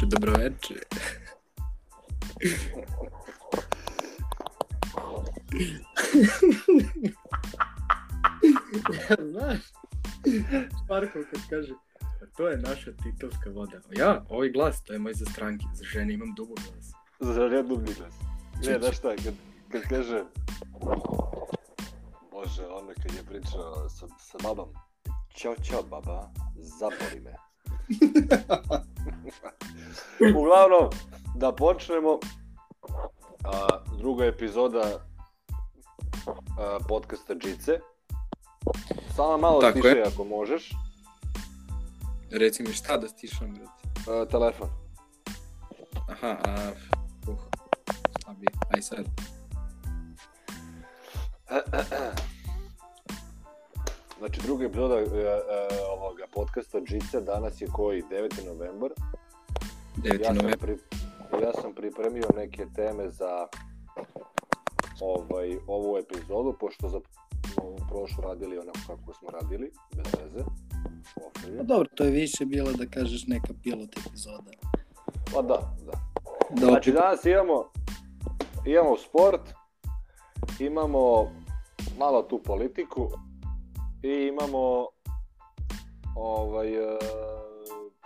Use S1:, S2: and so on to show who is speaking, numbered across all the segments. S1: Czy dobrołet, czy... Znaš, Marko kad kaže, "Pa to je naša titovska voda. Ja, ovaj glas, to je moj za stranke, za žene imam dubog glas.
S2: Za rednu bilas. Ne,
S1: Čiči.
S2: znaš šta, kad, kad kaže... Bože, ono kad je pričao sa, sa babom. Ćao, ćao, baba, zaboli me. Uglavnom, da počnemo. A, druga epizoda a, podcasta Džice. Samo malo
S1: Tako
S2: tiše
S1: je.
S2: ako možeš.
S1: Reci mi šta da stišam, brate.
S2: A, telefon.
S1: Aha, a... Uh, slabi, aj sad.
S2: Znači, druga epizoda e, e, ovoga podcasta Džice. Danas je koji? 9. novembar.
S1: 9.
S2: ja sam,
S1: novembar.
S2: pri, ja sam pripremio neke teme za ovaj, ovu epizodu, pošto za ovu prošlu radili onako kako smo radili, bez veze.
S3: Pa
S1: da.
S2: Ofrlje.
S3: dobro, to je više bila da kažeš neka pilot epizoda.
S2: Pa da, da.
S3: Da
S2: Znači,
S3: opet-
S2: danas imamo, imamo sport, imamo malo tu politiku i imamo ovaj, e,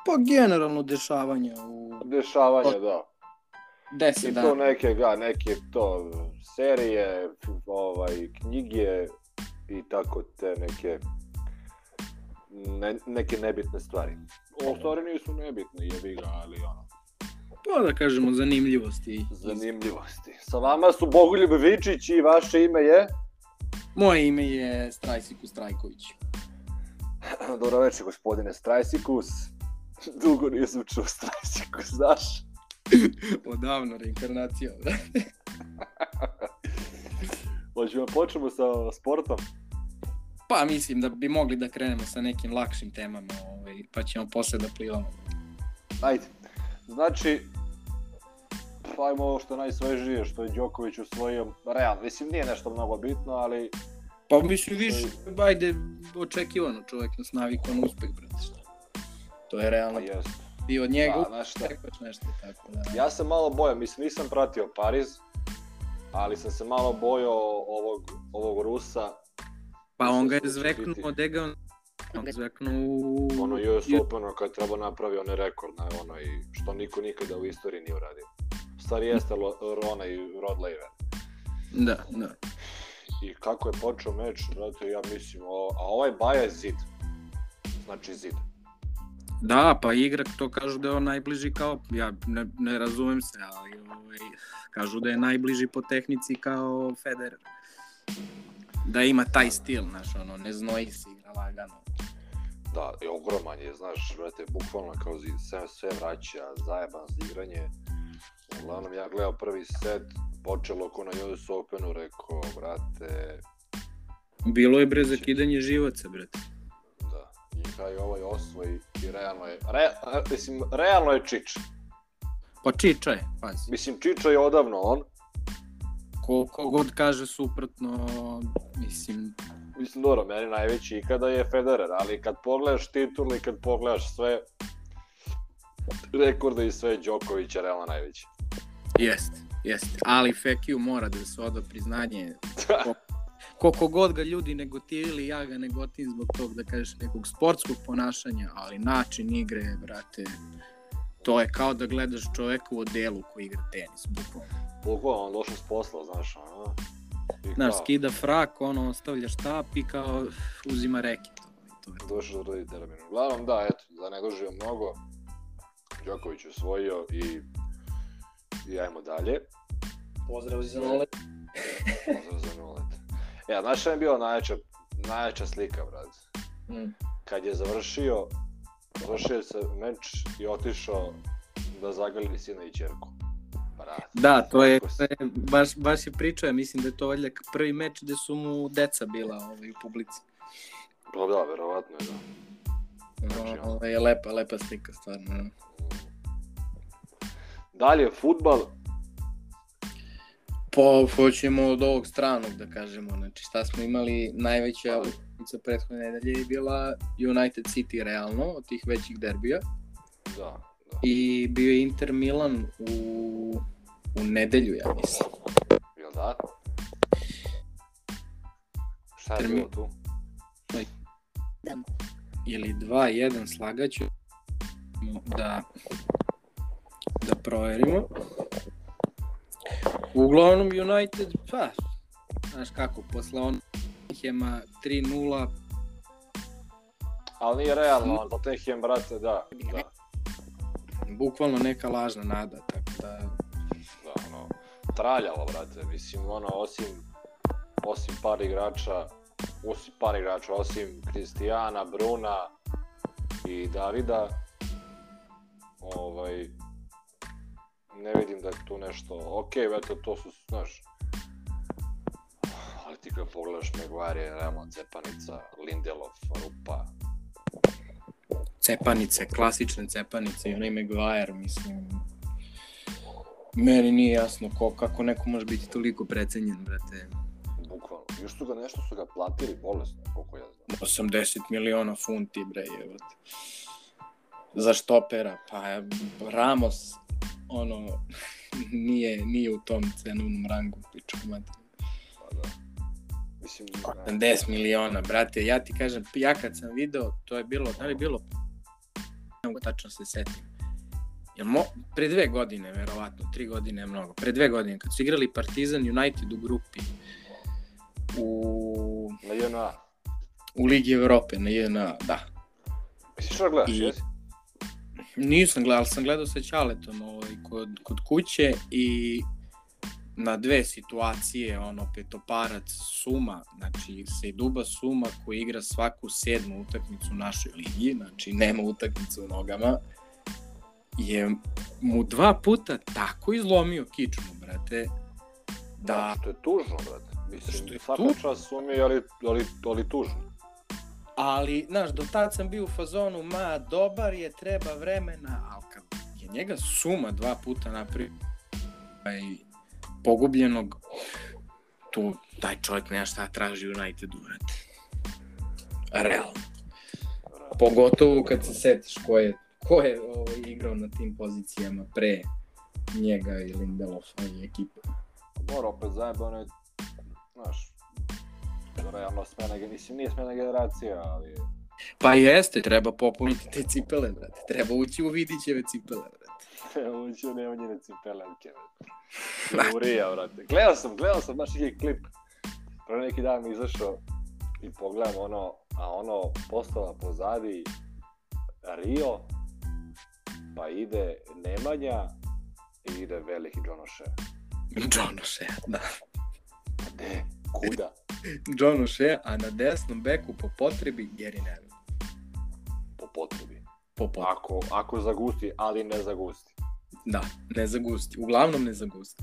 S3: Pa generalno dešavanja u
S2: dešavanje, da.
S3: 10
S2: I to
S3: dana.
S2: neke, ga, neke to serije, ovaj, knjige i tako te neke ne, neke nebitne stvari. U stvari nisu nebitne, jebi ga, ali ono,
S1: Pa da kažemo zanimljivosti.
S2: zanimljivosti. Sa vama su Bogoljub Vičić i vaše ime je?
S3: Moje ime je Strajsiku Strajković.
S2: Dobro večer, gospodine Strajsikus. Dugo nisam čuo Strajsikus, znaš?
S1: Odavno reinkarnacija.
S2: Hoćemo počnemo sa sportom.
S1: Pa mislim da bi mogli da krenemo sa nekim lakšim temama, ovaj, pa ćemo posle da plivamo.
S2: Ajde. Znači, pa ajmo ovo što je najsvežije, što je Đoković usvojio Real. Mislim, nije nešto mnogo bitno, ali
S1: Pa mislim više, ajde, očekivano čovjek nas navikao na uspeh, brate, šta. To je
S2: pa
S1: realno.
S2: jest.
S1: I od
S2: Pa,
S1: njega
S2: znaš šta,
S1: očekuješ nešto tako da.
S2: ja sam malo bojao, mislim, nisam pratio Pariz, ali sam se malo bojao ovog, ovog Rusa,
S1: Pa on ga je
S2: Mislim, što će
S1: zveknuo,
S2: biti.
S1: gde ga on... On ga je zveknuo u...
S2: ono US
S1: ju-
S2: Openu kad treba napravi onaj rekord, na ono i što niko nikada u istoriji nije uradio. U Stvari jeste Lo- Rona i Rod Laver.
S1: Da, da.
S2: I kako je počeo meč, brate, ja mislim, o, a ovaj Baja je zid. Znači zid.
S1: Da, pa igra, to kažu da je on najbliži kao, ja ne, ne razumem se, ali ovaj, kažu da je najbliži po tehnici kao Federer. Da ima taj stil, znaš, ono, ne znoji se, igra lagano.
S2: Da, i ogroman je, znaš, brate, bukvalno kao zid, sve, sve vraća, zajeban za igranje. Uglavnom, ja gledao prvi set, počelo ko na US Openu, rekao, brate,
S1: Bilo je bre zakidanje živaca, brate.
S2: da, i kraj ovaj osvoji i realno je, re, mislim, realno je Čič.
S1: Pa čiča je, pazi.
S2: Mislim, Čiča je odavno on.
S1: Koliko god kaže suprotno, mislim,
S2: Mislim, dobro, meni najveći ikada je Federer, ali kad pogledaš titul i kad pogledaš sve rekorde i sve Đoković je realno najveći.
S1: jeste, jeste. Ali Fekiju mora da se oda priznanje.
S2: Da.
S1: Ko- Koliko god ga ljudi negotivili, ja ga negotivim zbog tog, da kažeš, nekog sportskog ponašanja, ali način igre, brate, to je kao da gledaš čoveka u odelu koji igra tenis, bukvalno.
S2: Da. Bukvalno, on došao s posla, znaš, ono. I
S1: Znaš,
S2: kao,
S1: skida frak, ono, ostavlja štap i kao uzima reket. To je to.
S2: Došao do roditelja termina. Uglavnom, da, eto, da ne dužio mnogo, Đoković je osvojio i, i ajmo dalje.
S3: Pozdrav iz
S2: Nole. Pozdrav za Nolet. Ja, znaš šta je bio najjača, najjača slika, brad?
S1: Mm.
S2: Kad je završio, završio se meč i otišao da zagrli sina i čerku. Brad.
S1: Da, to je,
S2: Kako
S1: to
S2: si-
S1: je baš, baš je pričao, ja mislim da je to valjda prvi meč gde su mu deca bila ovaj, u publici.
S2: Pa da, verovatno je, da. Znači, ono.
S1: Ovo je ovaj, lepa, lepa slika, stvarno. ono.
S2: Dalje, futbal.
S1: Po, Pa, hoćemo od ovog stranog da kažemo, znači šta smo imali najveća utakmica prethodne nedelje je bila United City realno od tih većih derbija.
S2: Da,
S1: i bio je Inter Milan u, u nedelju, ja mislim.
S2: Jel da? Šta je
S1: Termin.
S2: bilo tu?
S1: Ili 2-1 slagaću da, da proverimo. Uglavnom United, pa, znaš kako, posle onog Hema 3-0,
S2: Ali nije realno, on Tottenham, brate, da. Da,
S1: bukvalno neka lažna nada, tako da
S2: da, ono, traljalo, brate, mislim, ono, osim, osim par igrača, osim par igrača, osim Kristijana, Bruna i Davida, ovaj, ne vidim da je tu nešto, okej, eto, to su, znaš, ali ti kad pogledaš Maguire, je realno Cepanica, Lindelof, Rupa,
S1: cepanice, klasične cepanice i onaj Maguire, mislim. Meni nije jasno ko, kako neko može biti toliko precenjen, brate.
S2: bukvalno. Još su ga nešto su ga platili bolesno, koliko ja znam.
S1: 80 miliona funti, bre, jebote. Za štopera, pa Ramos, ono, nije, nije u tom cenovnom rangu, pičku mati.
S2: Pa da. Mislim, ne.
S1: 80 miliona, brate, ja ti kažem, ja kad sam video, to je bilo, da li je bilo, ne mogu tačno se setim. Jel mo, pre dve godine, verovatno, tri godine je mnogo, pre dve godine, kad su igrali Partizan United u grupi, u,
S2: na JNA.
S1: u Ligi Evrope, na JNA, da.
S2: Misliš šta gledaš,
S1: I-
S2: jesi?
S1: Nisam gledao, ali sam gledao sa Ćaletom ovaj, kod, kod kuće i na dve situacije, ono, petoparac Suma, znači Sejduba Suma koji igra svaku sedmu utakmicu u našoj ligi, znači nema utakmicu u nogama, je mu dva puta tako izlomio kičmu, brate, da
S2: Što Znači, je tužno, brate. Mislim,
S1: Što je
S2: svaka
S1: tužno?
S2: čast sumi, ali, ali, ali tužno.
S1: Ali, znaš, do tad sam bio u fazonu, ma, dobar je, treba vremena, ali kad je njega suma dva puta napravio ovaj, pogubljenog, tu taj čovjek nema šta traži u Unitedu, vrati. Realno. Pa- Pogotovo kad se setiš ko je, ko je ovaj, igrao na tim pozicijama pre njega i Lindelofa i ekipe.
S2: Mora opet zajebe onaj, znaš, realno smena, ge- mislim, nije smena generacija, ali
S1: Pa jeste, treba popuniti te cipele, brate. Treba ući u Vidićeve cipele, brate.
S2: uđe nema njene cipelenke, brate. Urija, brate. Gledao sam, gledao sam, baš neki klip. Pre neki dan mi izašao i pogledam ono, a ono postala pozadi Rio, pa ide Nemanja i ide veliki Đonoše.
S1: John O'Shea, da.
S2: Gde? Kuda?
S1: John O'Shea, a na desnom beku po potrebi Gary Neville.
S2: Po potrebi.
S1: Po potrebi.
S2: Ako, ako zagusti, ali ne zagusti.
S1: Da, ne zagusti. Uglavnom ne zagusti.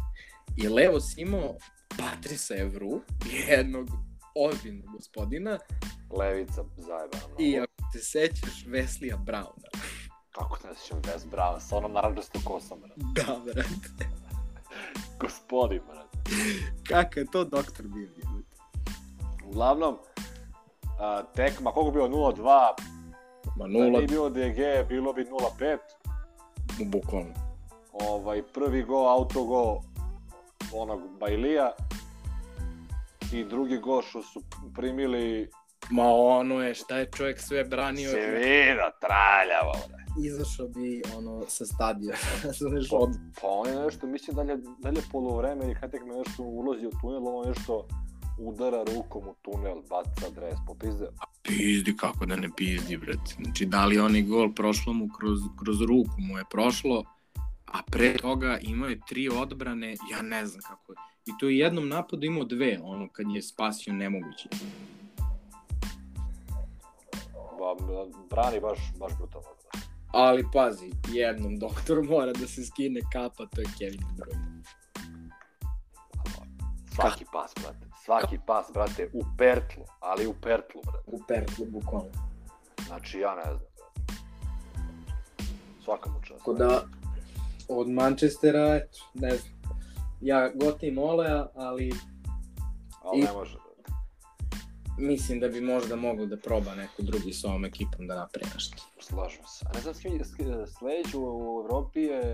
S1: I levo si imao Patrisa Evru, jednog ozbiljnog gospodina,
S2: Levica zajebana.
S1: i ako se sećaš Veslija Brauna.
S2: Kako se ne sjećam bez brava, sa onom naranđastom kosom, brate.
S1: Da, brate.
S2: Gospodin, brate.
S1: Kakav je to doktor bio, jebote.
S2: Uglavnom, a, tekma, koliko bi bilo 0-2,
S1: Ma
S2: da
S1: nula,
S2: nije bilo DG, bilo bi 0-5.
S1: bukvalno.
S2: Ovaj, prvi go, auto go onog Bajlija i drugi go što su primili
S1: Ma ono je, šta je čovjek sve branio,
S2: Sevina, traljavo. bre.
S1: izašao bi ono sa stadiona, razumeš, od
S2: Pa on je nešto, mislim dalje, dalje polovreme i Hatek me nešto ulazi u tunel, on nešto udara rukom u tunel, baca dres, popizde.
S1: Pizdi, kako da ne pizdi, brate. Znači, da li onaj gol prošlo mu kroz, kroz ruku mu je prošlo, a pre toga imao je tri odbrane, ja ne znam kako je. I to je jednom napadu imao dve, ono, kad je spasio nemoguće.
S2: Ba, brani baš, baš brutalno. bre.
S1: Ali pazi, jednom doktor mora da se skine kapa, to je Kevin De Bruyne.
S2: Svaki pas, brate. Svaki pas, brate, u pertlu, ali u pertlu, brate.
S1: U pertlu, bukvalno.
S2: Znači, ja ne znam, brate. Svaka mu čast.
S1: Tako da, od Manchestera, eto, ne znam. Ja gotim Olea, ali
S2: Ali ne može, brate.
S1: mislim da bi možda mogao da proba neko drugi sa ovom ekipom da napravi nešto.
S2: Slažem se. A ne znam s kim je s- sledeći u Evropi je...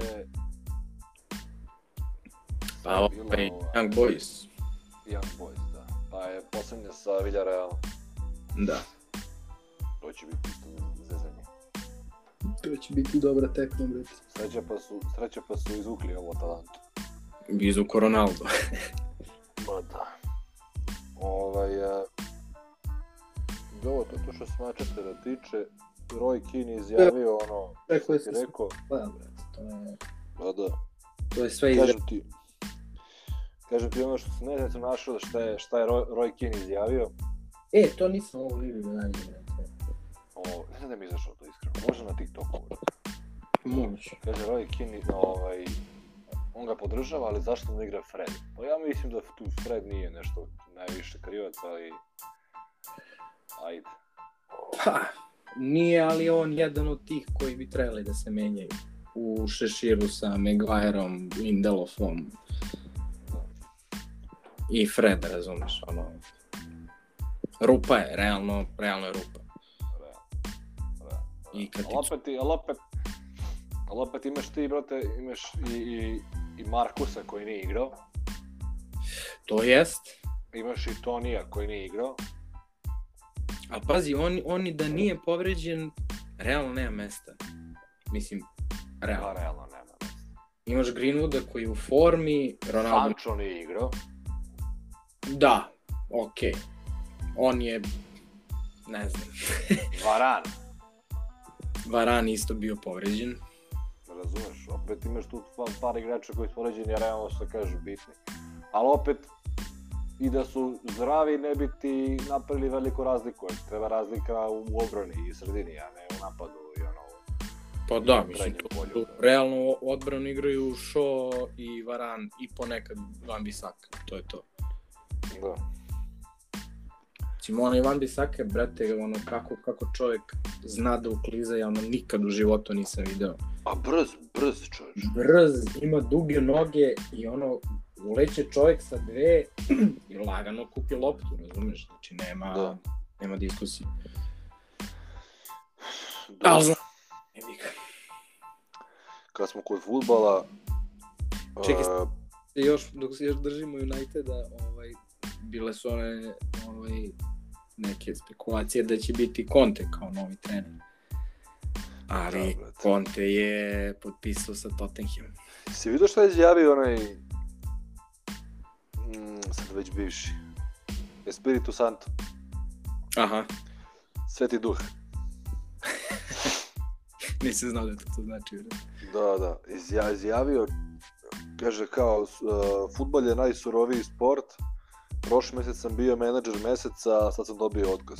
S1: Pa ovaj, Young Boys,
S2: Young Boys, da. Pa je poslednja sa Villarreal.
S1: da.
S2: To će biti isto zezanje.
S4: To će biti dobra tekma, brate.
S2: Sreća pa su, sreća pa su izvukli ovo talentu.
S1: Bizu Ronaldo.
S2: Ma da. Ovaj, e, i ovo to, to što se Manchestera tiče, Roy Keane je izjavio ono,
S4: Rekao je
S2: ti
S4: sve
S2: rekao,
S1: Pa,
S4: svoje, brate. To je,
S2: da da,
S1: To je sve iz...
S2: kažem ti, kažem ti ono što sam ne znam našao šta je, šta je Roy, Roy Keane izjavio,
S1: E, to nisam mogu vidio da nađem, brate.
S2: o, ne znam da mi je izašao to iskreno, možda na TikToku,
S1: Moguće.
S2: kaže Roy Keane, ovaj, on ga podržava, ali zašto ne igra Fred? Pa ja mislim da tu Fred nije nešto najviše krivac, ali, ajde.
S1: Pa, nije, ali on jedan od tih koji bi trebali da se menjaju. U Šeširu sa Maguireom, Lindelofom i Fred, razumeš, ono... Rupa je, realno, realno je rupa.
S2: Realno. Realno.
S1: I kad ti-
S2: Ali opet, ti- ali opet, ali opet imaš ti, brate, imaš i, i, i Markusa koji nije igrao,
S1: To jest,
S2: imaš i Tonija koji nije igrao,
S1: A pazi, on, on i da nije povređen, realno nema mesta. Mislim,
S2: a
S1: realno.
S2: pa realno nema.
S1: Imaš Greenwooda koji je u formi, Ronaldo...
S2: Sancho nije igrao,
S1: Da, okej. On je, ne znam,
S2: Varan,
S1: Varan isto bio povređen.
S2: razumeš, opet imaš tu pa- par igrača koji su poređeni, a realno što kažu bitni. Ali opet, i da su zdravi ne bi ti napravili veliku razliku, jer treba razlika u obrani i sredini, a ne u napadu i ono,
S1: Pa da, mislim,
S2: Krajnje
S1: to,
S2: bolje,
S1: to,
S2: da.
S1: realno u odbranu igraju Shaw i Varan i ponekad Van Bissaka, to je to.
S2: da.
S1: Mislim, ono Ivan Bisaka, brate, ono, kako, kako čovjek zna da ukliza, ja ono nikad u životu nisam video.
S2: A brz, brz čovječ.
S1: brz, ima duge noge i ono, uleće čovjek sa dve i lagano kupi loptu, razumeš? Znači, nema,
S2: Da.
S1: da. nema diskusije.
S2: Da,
S1: znam.
S2: kad smo kod futbala...
S1: Čekaj,
S2: e,
S1: Još, dok se još držimo Uniteda, ovaj, bile su one ovaj, neke spekulacije da će biti Conte kao novi trener. Ali
S2: Da, brate.
S1: Conte je potpisao sa Tottenhamom.
S2: si vidio šta je izjavio onaj... Mm, sad već bivši. Espiritu Santo,
S1: Aha,
S2: Sveti Duh.
S1: nisam znao da to, to znači. brate.
S2: Da, da, izja- izjavio, kaže kao, uh, futbal je najsuroviji sport, prošli mesec sam bio menadžer meseca, a sad sam dobio otkaz.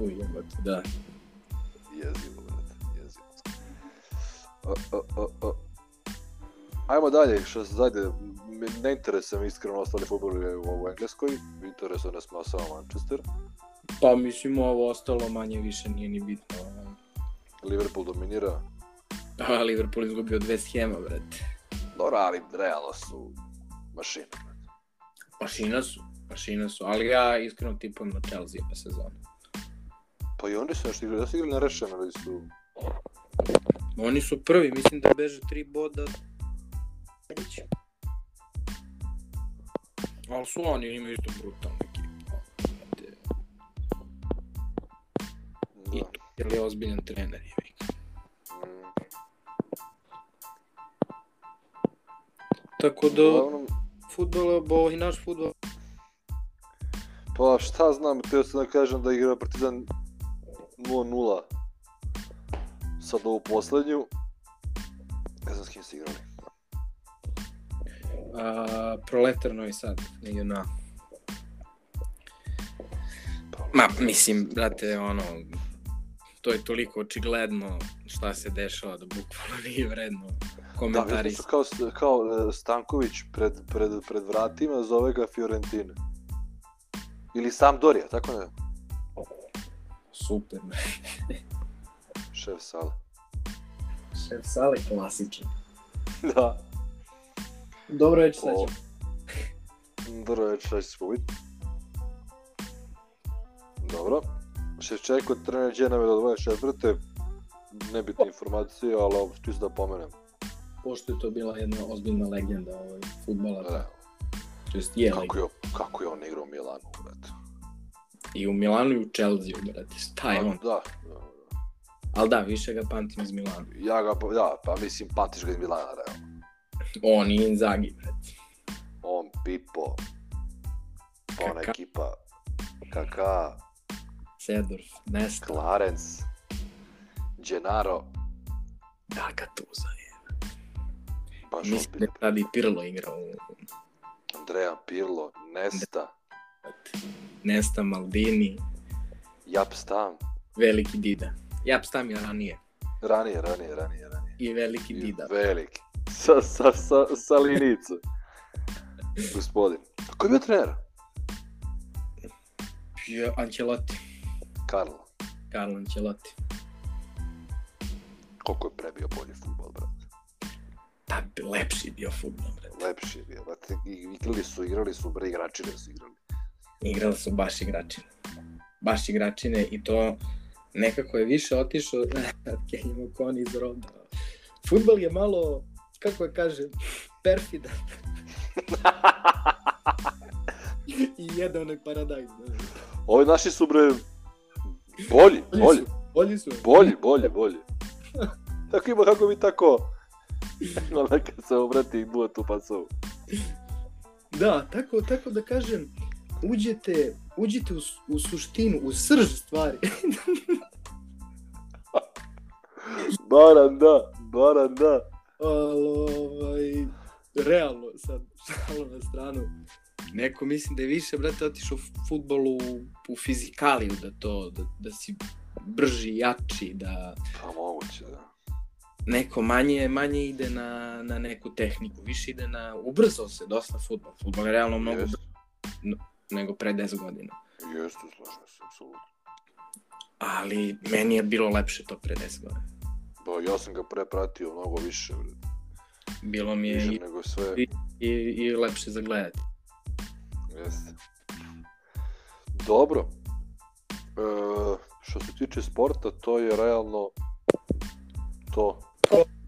S1: Ujebate, da.
S2: Jezivo, brate, jezivo. A, a, a, a. Ajmo dalje, što se zajde, m- ne interesuje me iskreno ostali futbolere u u Engleskoj, interesuje nas ma samo Manchester.
S1: Pa mislim ovo ostalo manje više nije ni bitno. ovaj.
S2: Liverpool dominira,
S1: A Liverpool izgubio dve schema, brate.
S2: dobro, ali realno su mašine. brate.
S1: Mašina su, mašina su, ali ja iskreno tipujem na Chelsea ove sezone.
S2: Pa i oni su nešto igrali, da su igrali nerešeno ili su...
S1: Oni su prvi, mislim da beže tri boda. Treći. Ali su oni, imaju isto brutalnu ekipu. brate.
S2: Da.
S1: I to je li ozbiljan trener, je
S2: Mm.
S1: Tako da,
S2: Uglavnom,
S1: futbol, bo i naš futbol,
S2: Pa šta znam, teo sam da kažem da igra Partizan 0-0 sad ovu poslednju. Ne znam s kim su igrali.
S1: a, proletar Novi Sad, negdje na
S2: Pa,
S1: Ma, mislim, brate, ono, to je toliko očigledno šta se dešava da bukvalno nije vredno
S2: Da, vidim
S1: komentari.
S2: što kao, kao e, Stanković pred, pred, pred vratima zove ga Fiorentina. Ili sam Dorija, tako ne,
S1: Super, man.
S2: šef sale.
S1: Šef sale klasičan.
S2: da.
S4: Dobro već, šta
S2: O.
S4: će.
S2: Dobro večer, šta će se pobiti. dobro. Ševčenko trener Đenave do 24. Nebitna informacija, ali ovo čisto da pomenem.
S1: Pošto je to bila jedna ozbiljna legenda ovaj, futbola,
S2: E,
S1: to jest je legenda.
S2: kako, je, kako je on igrao u Milanu, brate.
S1: I u Milanu i u Chelsea, brate, šta je
S2: A,
S1: on?
S2: Da,
S1: Ali da, više ga pamtim iz Milana.
S2: ja ga, pa- da, pa mislim, pamtiš ga iz Milana, realno.
S1: On i Inzaghi, brate.
S2: On, Pipo, pa ona
S1: Kaka.
S2: ekipa, Kaka,
S1: Sedorf, Nesta,
S2: Clarence, Gennaro,
S1: da, Gattuso.
S2: baš on
S1: Mislim da je tada i Pirlo igrao. u-
S2: Andrea Pirlo, Nesta,
S1: Nesta, Maldini,
S2: Jap Stam,
S1: Veliki Dida. Ja stam je ranije.
S2: ranije, ranije, ranije, ranije.
S1: I Veliki
S2: I
S1: Dida.
S2: Veliki. Sa, sa, sa, sa linice. Gospodin. A ko je bio trener?
S1: Pio- Ancelotti.
S2: Karlo.
S1: Carlo Ancelotti.
S2: Koliko je prebio bolji futbol, brate.
S1: Da, bi lepši bio futbol, brate.
S2: Lepši je bio, brate. I- Igrali su, igrali su, bre, igrači da su igrali.
S1: Igrali su baš igračine. Baš igračine i to nekako je više otišao Kenjimo kon iz Roda. Futbol je malo, kako je kažem, perfidan. I jede onaj paradajz. znaš.
S2: Ovi naši su, bre, bolji, bolji,
S1: Bolji su.
S2: bolji, bolji, bolji. Tako ima, kako bi tako... Ona kad se obrati i duva tu pasovu.
S1: Da, tako, tako da kažem, uđete, uđete u, s- u suštinu, u srž stvari.
S2: Baran da, baran da.
S1: Ali, ovaj, realno, sad, šalo na stranu. Neko mislim da je više, brate, otišao u futbolu, u fizikaliju, da to, da, da si brži, jači, da
S2: Pa moguće, da.
S1: neko manje, manje ide na, na neku tehniku, više ide na, ubrzao se dosta futbol. Futbol je realno mnogo da.
S2: Jeste,
S1: brži nego pre 10 godina.
S2: jeste, slažem se, apsolutno.
S1: Ali meni je bilo lepše to pre 10 godina.
S2: Ba, ja sam ga prepratio mnogo više, bre.
S1: Bilo mi je
S2: više
S1: i,
S2: nego sve.
S1: i, i lepše za gledati.
S2: Jeste. Dobro. E, što se tiče sporta, to je realno to.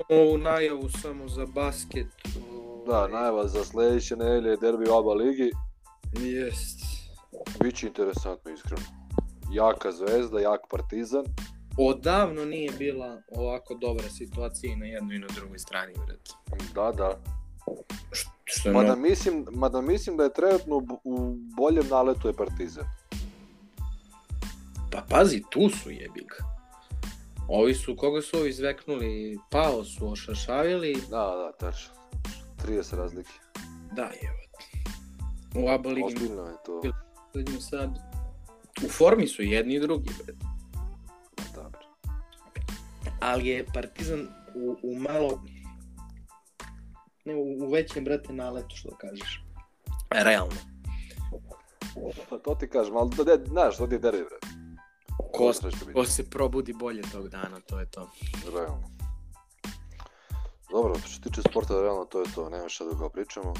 S5: Ovu najavu samo za basket. ovaj,
S2: Da, najava za sledeće nedelje je derbi u oba ligi.
S5: Jest.
S2: Biće interesantno, iskreno. Jaka zvezda, jak partizan.
S1: odavno nije bila ovako dobra situacija i na jednoj i na drugoj strani, brate.
S2: Da, da.
S1: Što je
S2: Mada
S1: mnogo...
S2: mislim, mada mislim da je trenutno u b- u boljem naletu je partizan.
S1: Pa pazi, tu su jebik. Ovi su, koga su ovi izveknuli? Pao su, ošašavili.
S2: Da, da, tačno. 30 razlike.
S1: Da, jebate. U aba ligi
S2: Ozbiljno je to.
S1: gledanju sad. U formi su jedni i drugi, brate.
S2: Da, bre.
S1: Ali je Partizan u, u malo... Ne, u, u većem, brate, naletu, što da kažeš. Realno.
S2: Pa to ti kažem, ali da, da, znaš, to ti je derbi, bre.
S1: Ko,
S2: Sve što bi-
S1: ko se probudi bolje tog dana, to je to.
S2: Realno. Dobro, što se tiče sporta, realno to je to, nema šta da ga pričamo.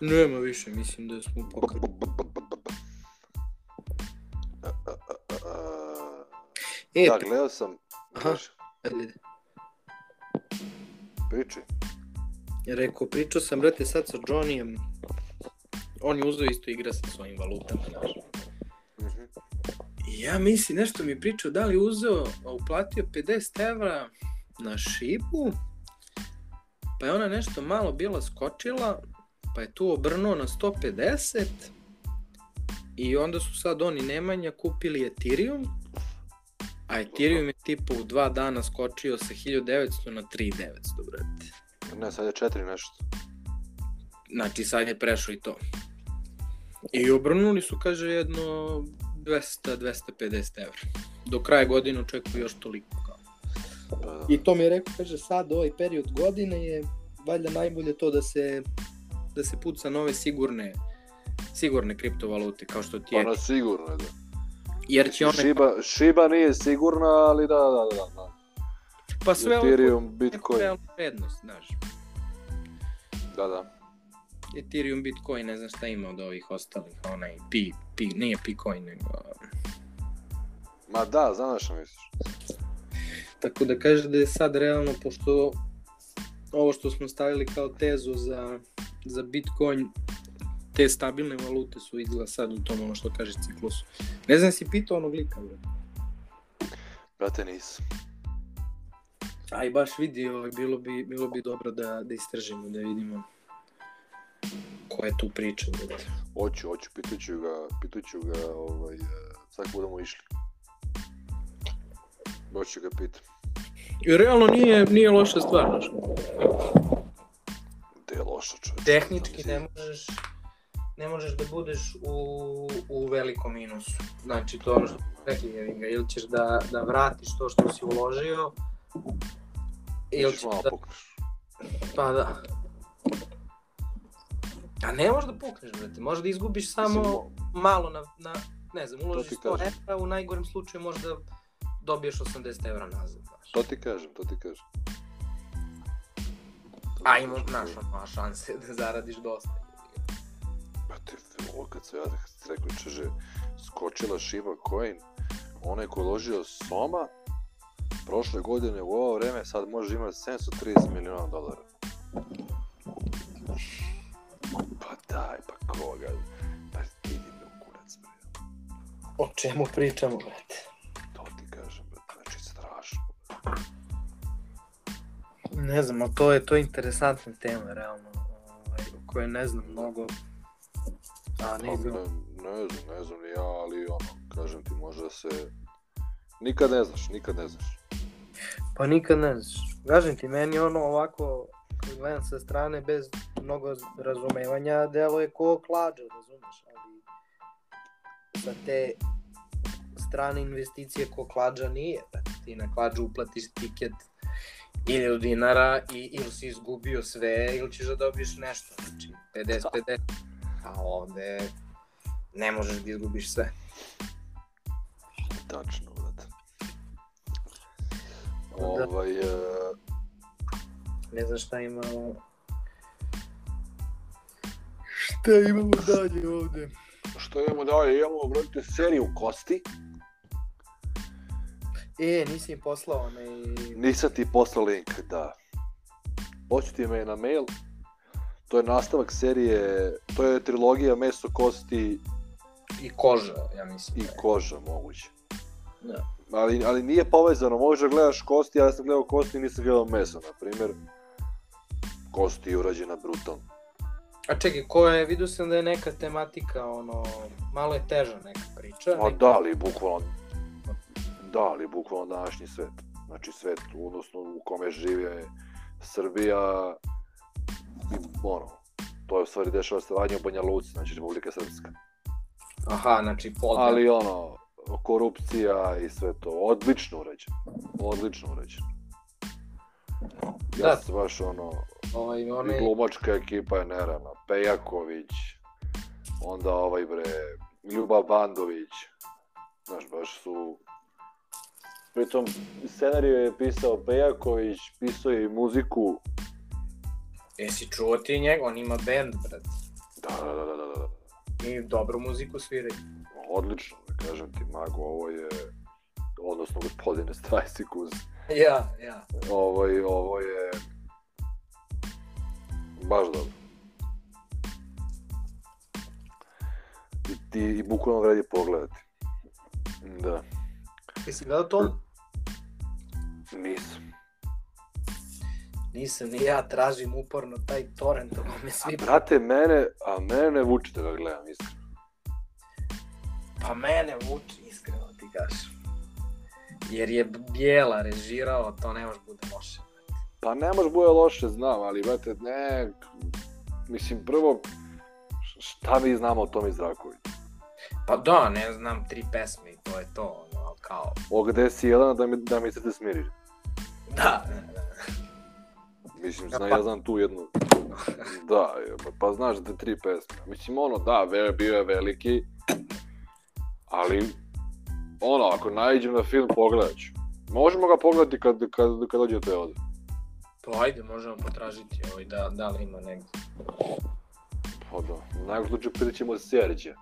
S1: Nema više, mislim da smo pokazali.
S2: E, e, e, e,
S1: E,
S2: Da, gledao sam,
S1: Aha.
S2: Kaži,
S1: Ajde.
S2: priči.
S1: Rekao, pričao sam, brate, sad sa Johnnyem. On je uzeo isto igra sa svojim valutama, da. znaš.
S2: Mhm.
S1: I ja mislim, nešto mi je pričao, da li je uzeo, a uplatio 50 evra na šibu, pa je ona nešto malo bila skočila, pa je tu obrnuo na 150, i onda su sad oni Nemanja kupili Ethereum, a Ethereum je tipa u dva dana skočio sa 1900 na 3900, brate.
S2: Ne, sad je četiri nešto.
S1: Znači, sad je prešao i to. I obrnuli su, kaže, jedno 200-250 evra. Do kraja godine očekuju još toliko. Kao.
S2: Pa, da.
S1: I to mi je rekao, kaže, sad ovaj period godine je valjda najbolje to da se da se puca nove sigurne sigurne kriptovalute kao što ti
S2: Pa
S1: je,
S2: na sigurno je da.
S1: jer će one
S2: Šiba, Šiba nije sigurna, ali da, da, da. da.
S1: pa sve ovo
S2: Ethereum,
S1: Bitcoin.
S2: Bitcoin,
S1: vrednost, znaš.
S2: da, da.
S1: Ethereum, Bitcoin, ne znam šta ima od ovih ostalih, onaj Pi, Pi, nije Picoin, nego
S2: Ma da, znaš što misliš.
S1: Tako da kaže da je sad realno, pošto ovo što smo stavili kao tezu za, za Bitcoin, te stabilne valute su izgleda sad u tom ono što kaže ciklusu. Ne znam, si pitao onog lika, bre.
S2: Brate, nisam.
S1: Aj, baš vidi, ovaj, bilo, bi, bilo bi dobro da, da istražimo, da vidimo koja je tu priča. brate.
S2: Hoću, hoću, pitaću ga, pitaću ga, ovaj, eh, sad kad budemo išli. Baš ću ga pitam.
S1: I realno nije, nije loša stvar, znaš.
S2: Gde je loša čovječ?
S1: tehnički ne možeš ne možeš da budeš u, u velikom minusu. Znači to je ono što smo rekli, jevi ga, ili ćeš da, da vratiš to što si uložio, ili
S2: Ili
S1: ćeš
S2: ću malo
S1: da,
S2: pokriš.
S1: pa da. A ne možeš da pukneš, brate, možeš da izgubiš samo malo na, na ne znam, uložiš
S2: ti
S1: 100
S2: kažem.
S1: evra, u najgorem slučaju možda dobiješ 80 evra nazad, znaš.
S2: To ti kažem, to ti kažem.
S1: A ima, znaš, ono, šanse da zaradiš dosta.
S2: Pa te, ovo kad se ja kad ste rekao čeže, skočila Shiba Coin, onaj ko je ložio Soma, prošle godine u ovo vreme sad može imati 730 miliona dolara. Pa daj, pa koga? Pa idi me u kurac, bre.
S1: O čemu pričamo, brate?
S2: To ti kažem, bre. Znači, strašno.
S1: Ne znam, ali to je, to je interesantna tema, realno, ovaj, o kojoj ne znam mnogo. A,
S2: Ne,
S1: ne
S2: ne,
S1: bilo.
S2: ne znam, ne znam ni ja, ali ono, kažem ti, možda se... Nikad ne znaš, nikad ne znaš.
S1: Pa nikad ne znaš. Kažem ti, meni ono ovako, kad gledam sa strane, bez mnogo razumevanja, delo je ko klađa, razumeš, ali sa te strane investicije ko klađa nije, da ti na klađu uplatiš tiket ili dinara i ili si izgubio sve ili ćeš da dobiješ nešto, znači 50-50, a ovde ne možeš da izgubiš sve.
S2: Tačno, brate.
S1: Da.
S2: Ovaj, e,
S1: Ne znam šta imamo. Šta imamo dalje ovde?
S2: što imamo dalje? Imamo, brate, seriju kosti.
S1: E, nisi im poslao onaj...
S2: Nisam ti poslao link, da. Poćuti me na mail. To je nastavak serije, to je trilogija meso, kosti
S1: I koža, ja mislim.
S2: i koža moguće.
S1: Da.
S2: Ali, ali nije povezano, možeš da gledaš kosti, ja sam gledao kosti i nisam gledao meso, na primjer. Kosti je urađena brutalno.
S1: A čekaj, ko je, vidio sam da je neka tematika, ono, malo je teža neka priča.
S2: A da li bukvalno, da li bukvalno današnji svet. Znači svet, odnosno u kome žive Srbija, i ono, to je u stvari dešava se radnje u Banja Luci, znači Republika Srpska.
S1: Aha, znači podne.
S2: Ali ono, korupcija i sve to, odlično urađeno. Odlično urađeno. Ja
S1: Da.
S2: da. sam baš ono,
S1: Ovaj,
S2: i
S1: onaj...
S2: glumačka ekipa je nerana. Pejaković, onda ovaj bre, Ljuba Bandović. Znaš, baš su... Pritom, scenariju je pisao Pejaković, pisao je i muziku.
S1: Jesi čuo ti njega? On ima band, brat.
S2: Da, da, da, da, da, da.
S1: I dobru muziku sviraju.
S2: Odlično, da kažem ti, Mago, ovo je... Odnosno, gospodine Strajsikus.
S1: Ja, ja.
S2: Ovo, je- Ovaj, ovo je... Baš dobro. I, ti, i bukvalno vredi pogledati. Da,
S1: Jesi gledao to?
S2: nisam.
S1: Nisam, ni ja tražim uporno taj torrent, ovo me
S2: A
S1: svi...
S2: brate, mene, a mene ne vuče da ga gledam, iskreno.
S1: Pa mene vuče, iskreno da ti gaš. Jer je Bijela režirao, to ne može bude loše.
S2: Pa ne može bude loše, znam, ali brate, ne... Mislim, prvo, š- šta mi znamo o Tomi Zraković?
S1: Pa da, ne znam, tri pesme i to je to, ono, ali kao...
S2: O gde si Jelena da mi, da mi se te smiriš?
S1: Da, da, da.
S2: Mislim, zna,
S1: pa-
S2: ja znam tu jednu. Da, jeba, pa znaš da tri pesme. Mislim, ono, da, ve- bio je veliki, ali, ono, ako najđem na film, pogledat ću. Možemo ga pogledati kad, kad, kad dođete ovde.
S1: Pa ajde, možemo potražiti ovaj, da, da li ima negdje.
S2: Pa da, u najgorem slučaju pitat ćemo Serđe.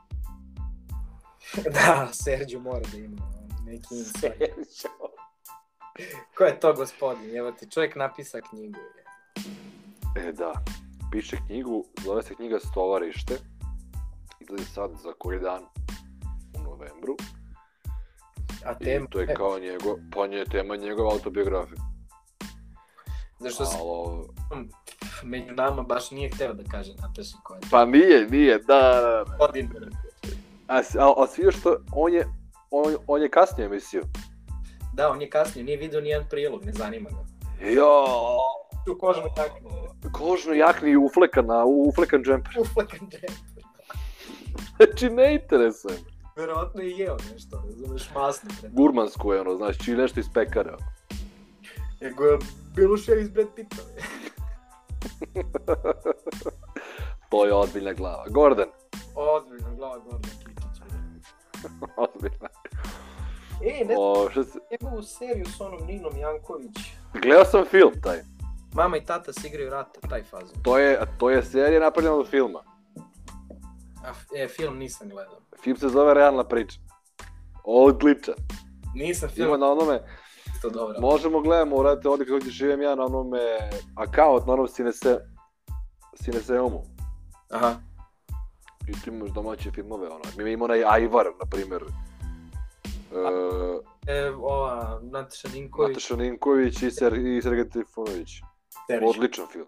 S1: da, Serđu mora da ima. neki insight. Ko je to gospodin? Evo ti čovjek napisa knjigu. je.
S2: E, da. Piše knjigu, zove se knjiga Stolarište. Izlazi sad za koji dan u novembru.
S1: A
S2: I
S1: tema,
S2: to je kao njegov, pa nje je tema njegove autobiografije.
S1: zašto se
S2: Ali, ovo-
S1: među nama baš nije hteo da kaže napiši ko je to.
S2: Pa nije, nije, da, da, da.
S1: Gospodin.
S2: A, s- a, a svi još to, on je, on, on je kasnije emisiju.
S1: Da, on je kasnije, nije vidio nijedan prilog, ne zanima ga.
S2: Jo,
S1: Tu kožnu taknu.
S2: kožno jakni i uflekan, a uflekan džemper.
S1: Uflakan džep.
S2: Znači, ne interesuje me.
S1: Verovatno je jeo nešto, razumeš, masno. Pred...
S2: Gurmansko je ono, znači, ili nešto iz pekara.
S1: Ego je bilo še iz Brad Pitta.
S2: To je ozbiljna glava. Gordon,
S1: Ozbiljno, glava Gordon Kikić.
S2: ozbiljna.
S1: E, ne znam,
S2: O, šta se...
S1: njegovu seriju s onom Ninom Janković.
S2: Gledao sam film taj.
S1: Mama i tata se igraju rata, taj fazon.
S2: To je, to je serija napravljena od filma.
S1: A, f- e, film nisam gledao.
S2: Film se zove Realna priča. Odličan.
S1: Nisam film,
S2: Ima na onome,
S1: isto dobro.
S2: možemo gledamo, vratite ovdje kako živim ja na onome, account, na onom Cinese, Cineseumu.
S1: Aha.
S2: I tu imaš domaće filmove, ono. Mi imamo onaj Ajvar, na primjer. E,
S1: E, ova, Nataša Ninković.
S2: Nataša Ninković i, Ser, i Sergej Trifunović.
S1: Serić.
S2: Odličan film.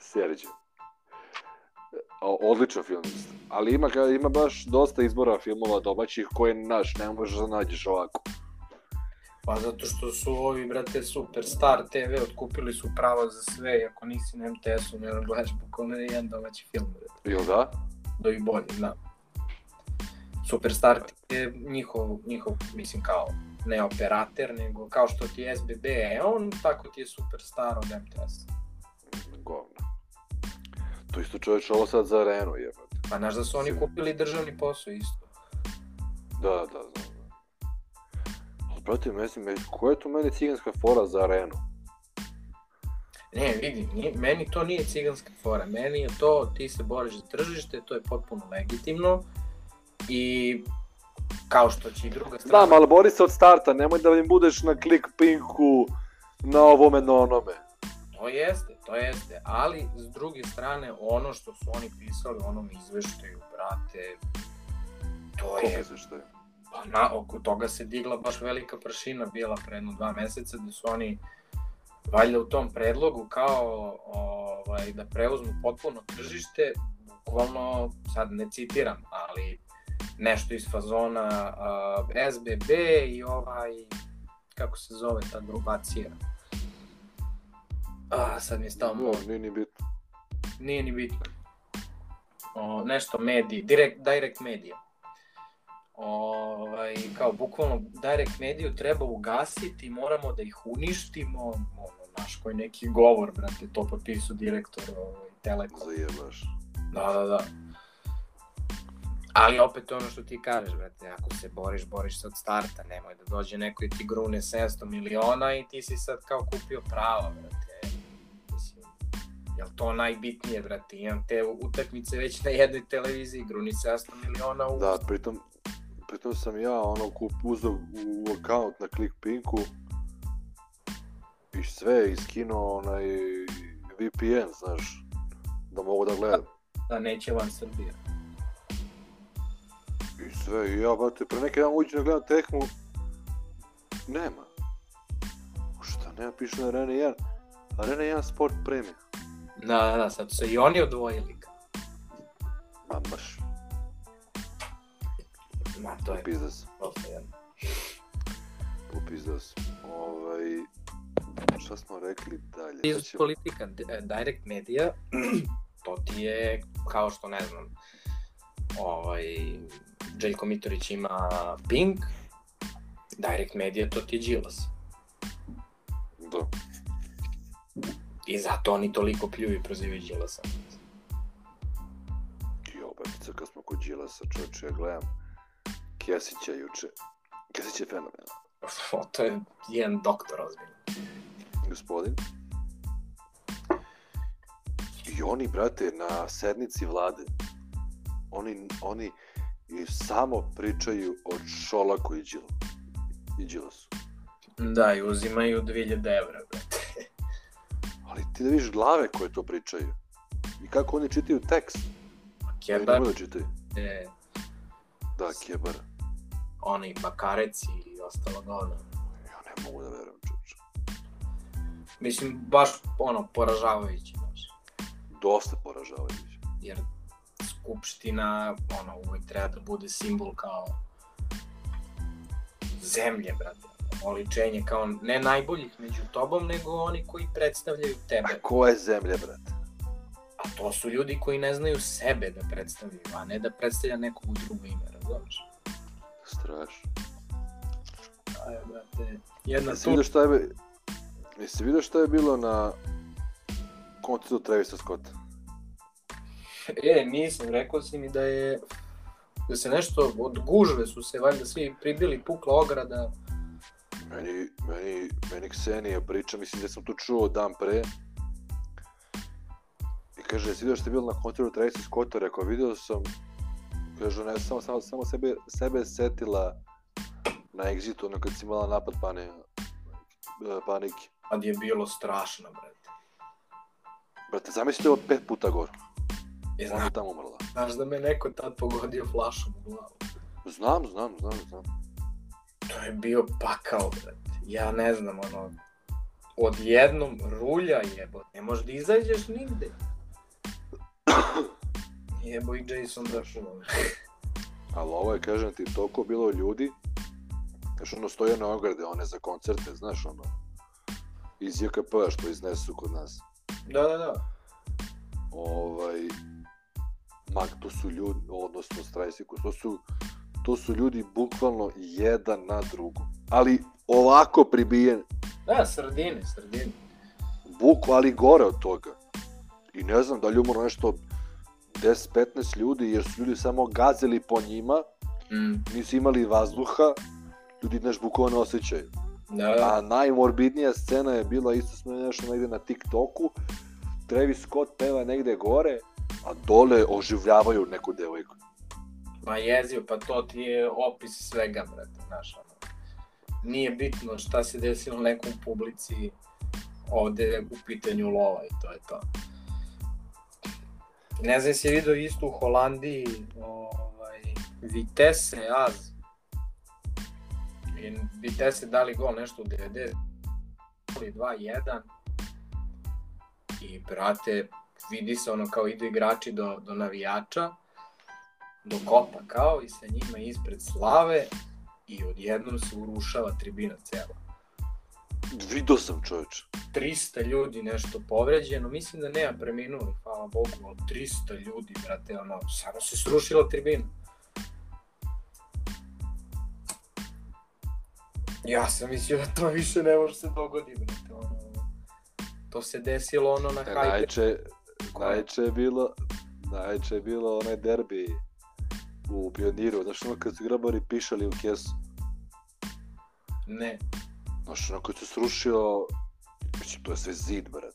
S2: Serđe. O- Odličan film isto. Ali ima, ka- ima baš dosta izbora filmova domaćih koje naš ne možeš da nađeš ovako.
S1: Pa zato što su ovi, brate, Superstar TV otkupili su pravo za sve, i ako nisi na MTS-u, ne znam, gledaš bukvalno jedan domaći film.
S2: Jel da?
S1: do i bolje, da. Superstar je njihov, njihov, mislim kao, ne operater, nego kao što ti je SBB je e, on, tako ti je Superstar od MTS.
S2: Govno. To isto čovječ ovo sad za Renu jebate.
S1: Pa znaš da su oni kupili državni posao isto.
S2: Da, da, znam. znam. Ali, brate, mislim, me- koja je tu meni ciganska fora za Renu?
S1: Ne, vidi, nije, meni to nije ciganska fora, meni je to, ti se boriš za tržište, to je potpuno legitimno i kao što će i druga strana...
S2: Znam, ali bori se od starta, nemoj da im budeš na klikpinku, na ovome, na onome.
S1: To jeste, to jeste, ali s druge strane, ono što su oni pisali u onom izveštaju, brate, to
S2: Koga
S1: je,
S2: se što da je?
S1: pa na, oko toga se digla baš velika prašina bila pre jedno dva meseca, da su oni valjda u tom predlogu kao ovaj, da preuzmu potpuno tržište, bukvalno, sad ne citiram, ali nešto iz fazona a, SBB i ovaj, kako se zove ta grupacija. A, sad mi je stao
S2: Da, nije ni bitno.
S1: nije ni bitno. O, nešto mediji, direct, direct medija. Ovaj, kao bukvalno direct mediju treba ugasiti, moramo da ih uništimo, ono, naš koji neki govor, brate, to potpisu direktor ovaj, Telekom.
S2: Zajebaš.
S1: Da, da, da. Ali opet ono što ti kažeš, brate, ako se boriš, boriš se od starta, nemoj da dođe neko i ti grune 700 miliona i ti si sad kao kupio pravo, brate. Mislim, jel to najbitnije, brate, imam te utakmice već na jednoj televiziji, gruni 700 miliona u...
S2: Da, pritom, pritom sam ja ono kup uzeo u account na Clickpinku i sve iskinuo onaj VPN, znaš, da mogu da gledam.
S1: da neće van Srbije.
S2: I sve, i ja, brate, pre neki dan uđem da gledam tekmu, nema. Šta, nema, piše na Arena 1, Arena 1 Sport Premium.
S1: Da, da, da, sad su se i oni odvojili.
S2: Ma baš,
S1: Ma, to je
S2: popizdao sam,
S1: prosto jedno.
S2: popizdao sam. Ovaj, šta smo rekli dalje? Znači,
S1: Iz
S2: Sad ćemo-
S1: politika, d- e, direct medija, to ti je kao što ne znam, ovaj, Željko Mitrović ima Pink, direct medija to ti je Đilas.
S2: Da.
S1: I zato oni toliko pljuju i prozivaju Đilasa.
S2: Jo, babica, kad smo kod Đilasa, čovječe, ja gledam Kesića juče. Kesić je fenomen.
S1: O, to je jedan doktor ozbiljno.
S2: Gospodin. I oni, brate, na sednici vlade, oni, oni i samo pričaju o Šolaku i Đilu. i Đilasu.
S1: Da, i uzimaju 2000 evra, brate.
S2: Ali ti da vidiš glave koje to pričaju. I kako oni čitaju tekst. Oni ne
S1: Kebar,
S2: mogu da čitaju.
S1: e,
S2: Da, kebara.
S1: onaj bakareci i ostalo govno.
S2: Ja ne mogu da verujem, čoveče.
S1: Mislim, baš ono, poražavajuće, znaš.
S2: Dosta poražavajuće.
S1: jer skupština ono, uvek treba da bude simbol kao zemlje, brate. Oličenje kao ne najboljih među tobom, nego oni koji predstavljaju
S2: A
S1: tebe.
S2: ko je zemlja, brate?
S1: A to su ljudi koji ne znaju sebe da predstavljaju, a ne da predstavlja nekog u drugo ime, razumiješ?
S2: Strašno.
S1: Aj, brate, jedna
S2: Jesi vidio šta je... Jesi vidio šta je bilo na koncertu Travisa Scotta?
S1: E, nisam, rekao si mi da je da se nešto od gužve su se valjda svi pribili pukla ograda
S2: Meni, meni, meni Ksenija priča, mislim da sam to čuo dan pre. I kaže, jesi vidio što je bilo na koncertu Tracy Scotta? Rekao, video sam. Kaže, ne, samo, samo, samo sebe, sebe setila na exitu, ono kad si imala napad pane, eh, panike.
S1: kad je bilo strašno, brate.
S2: Brate, zamislite ovo pet puta gore.
S1: E,
S2: Ona
S1: znaš,
S2: je tamo umrla.
S1: Znaš da me neko tad pogodio flašom u glavu.
S2: Znam, znam, znam, znam.
S1: To je bio pakao, brate. Ja ne znam, ono, odjednom rulja jebo. Ne možeš da izađeš nigde. Jebo i Jason Derulo.
S2: Ali ovo je, kažem ti, toliko bilo ljudi, znaš, ono, stoje na ograde, one za koncerte, znaš, ono, iz JKP-a što iznesu kod nas.
S1: Da, da, da.
S2: ovaj ma to su ljudi odnosno strajsiku to su to su ljudi bukvalno jedan na drugu ali ovako pribijen
S1: Da, sredine, sredine.
S2: buku ali gore od toga i ne znam da li je umro nešto 10-15 ljudi jer su ljudi samo gazili po njima
S1: Mm.
S2: nisu imali vazduha ljudi znaš bukvalno ne osjećaju
S1: Da, da.
S2: A najmorbidnija scena je bila isto smo nešto negde na TikToku. Travis Scott peva negde gore, a dole oživljavaju neku devojku.
S1: Ma jezio, pa to ti je opis svega, brate, znaš, ono. Nije bitno šta se desilo nekom publici, ovde je u pitanju lova i to je to. Ne znam, si vidio isto u Holandiji, ovaj, Vitesse, Az. I Vitesse dali gol nešto u 90 ili 2-1. I, brate, vidi se ono kao idu igrači do, do navijača, do kopa kao i sa njima ispred slave i odjednom se urušava tribina cela.
S2: Vidio sam čoveče.
S1: 300 ljudi nešto povređeno, mislim da nema preminuli, hvala Bogu, ali 300 ljudi, brate, ono, samo se srušila tribina. Ja sam mislio da to više ne može se dogodi, brate, ono, to se desilo ono na
S2: E,
S1: hajde.
S2: najče, najče je bilo, najče je bilo onaj derbi u Pioniru. Znaš ono kad su grabari pišali u kesu.
S1: Ne,
S2: Znaš ono kad su srušio, mislim to je sve zid, brat.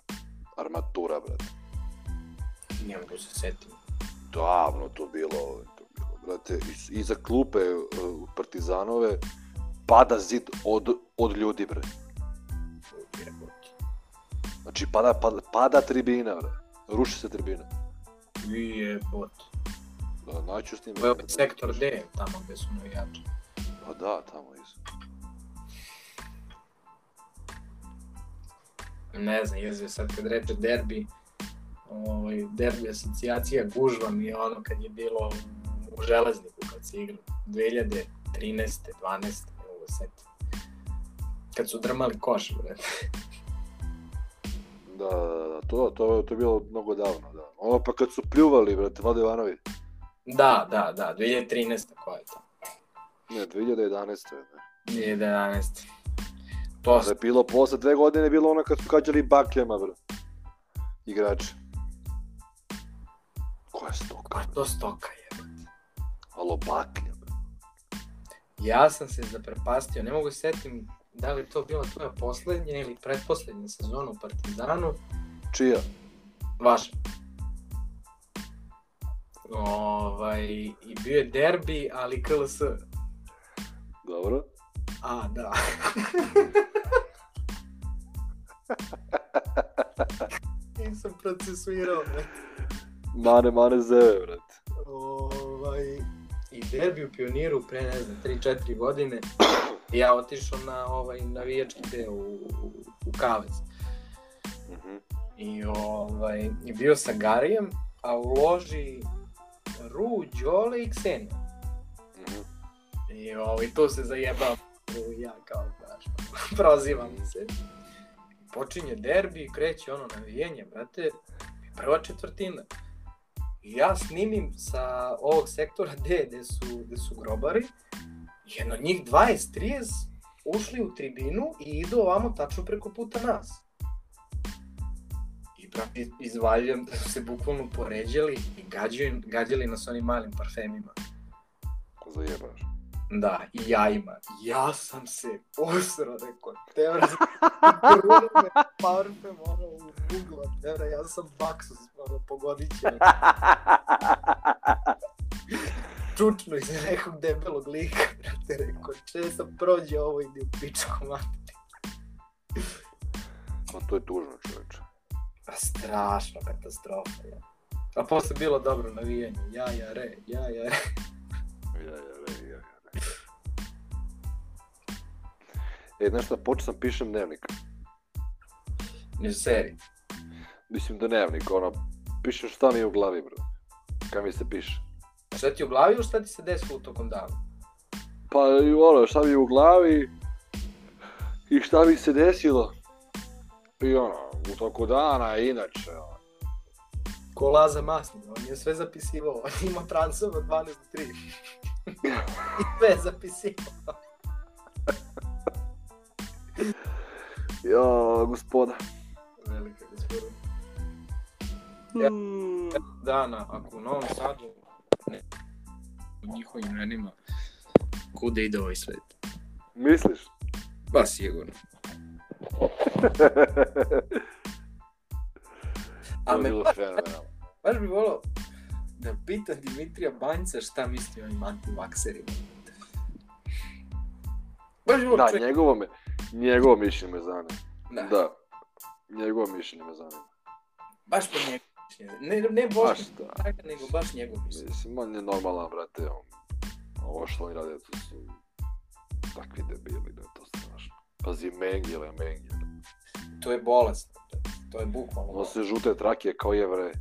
S2: Armatura, brat.
S1: ne mogu se setiti.
S2: davno to bilo, to bilo brate, iz- iza klupe e, u Partizanove pada zid od, od ljudi, bre.
S1: Jebote.
S2: Znači, pada, pada, pada tribina, bre. Ruši se tribina.
S1: Jebote.
S2: Da, naću s njima.
S1: To je ovaj sektor D, tamo gde su navijači.
S2: Pa da, tamo izu.
S1: ne znam, jezio sad kad reče derbi, ovaj, derbi asocijacija gužva mi je ono kad je bilo u železniku kad se igra 2013. 12. ne mogu se setiti. Kad su drmali koš, bre.
S2: Da, da, da, to, to, to je bilo mnogo davno, da. Ono pa kad su pljuvali, brate, Vlado Ivanović.
S1: Da, da, da, 2013. koja je to?
S2: Ne, 2011. Ne.
S1: 2011. To
S2: Da je
S1: se
S2: bilo posle dve godine, je bilo ono kad su kađali bakljama, bre. Igrači. Koja je stoka?
S1: pa to stoka je.
S2: Alo, baklja, bre.
S1: Ja sam se zaprepastio, ne mogu se setim da li je to bila tvoja poslednja ili pretposlednja sezona u Partizanu.
S2: Čija?
S1: Vaš. Ovaj, i bio je derbi, ali KLS.
S2: Dobro.
S1: A, da. Nisam procesuirao, brate.
S2: Mane, mane, ze, brate.
S1: Ovaj, I derbi u pioniru pre, ne znam, 3-4 godine, ja otišao na ovaj navijački deo u, u, u Kavez.
S2: Mhm.
S1: I, ovaj, I bio sa Garijem, a u loži Ru, Đole i Ksenija.
S2: mhm.
S1: I ovaj, tu se zajebavam. I Ja kao, znaš, prozivam se. Počinje derbi, kreće ono navijenje, brate. Prva četvrtina. I ja snimim sa ovog sektora D, gde su, gde su grobari. Jedno njih 20-30 ušli u tribinu i idu ovamo tačno preko puta nas. I brate, izvaljujem da su se bukvalno poređali i gađali, gađali nas onim malim parfemima.
S2: Zajebaš.
S1: Da, i jajima. Ja sam se posrao, rekao, tevra, grune me parfem, ono, u Google, tevra, ja sam baksus, ono, pogodit će. me. Čučno iz nekog debelog lika, brate, rekao, če sam prođe ovo, idi u pičku, mati.
S2: Ma to je tužno, čoveče.
S1: Pa strašna katastrofa, ja. A posle bilo dobro navijanje, ja, ja, re, ja, ja, re.
S2: Ja, ja, ja, ja, ja. E, znaš šta, počeo sam pišem dnevnik.
S1: Ne seri.
S2: Mislim da dnevnik, ono, pišem šta mi je u glavi, bro. Kaj mi se piše.
S1: Šta ti u glavi ili šta ti se desilo tokom dana?
S2: Pa, i ono, šta mi je u glavi i šta mi se desilo. I ono, u toku dana, inače, ono.
S1: Ko Laza Masni, on je sve zapisivao, on ima transova 12 do 3. I sve zapisivao.
S2: Jo, gospoda.
S1: Velika gospodina. Dana, Da, ako u Novom Sadu,
S5: U njihovim imenima. Kude ide ovaj svet?
S2: Misliš?
S5: Pa sigurno.
S2: To
S1: a
S2: je
S1: me
S2: bilo fenomenalno.
S1: baš bi volao da pita Dimitrija Banjca šta misli o ovim antivakserima. Baš bi volao
S2: Da,
S1: čovjek...
S2: njegovo, me, njegovo mišljenje me zanima.
S1: Da,
S2: Da. Njegovo mišljenje me zanima.
S1: Baš po njegovu mišljenje. Ne, ne
S2: Pa
S1: Boško,
S2: šta?
S1: Dragan, nego baš njegovu mišljenje.
S2: Mislim, on je normalan, brate, on, ovo što oni rade, to su takvi debili, da je to strašno. Pazi, Mengele, Mengele.
S1: To je bolest. To je bukvalno.
S2: Ono
S1: bolest.
S2: se žute trake kao je, bre.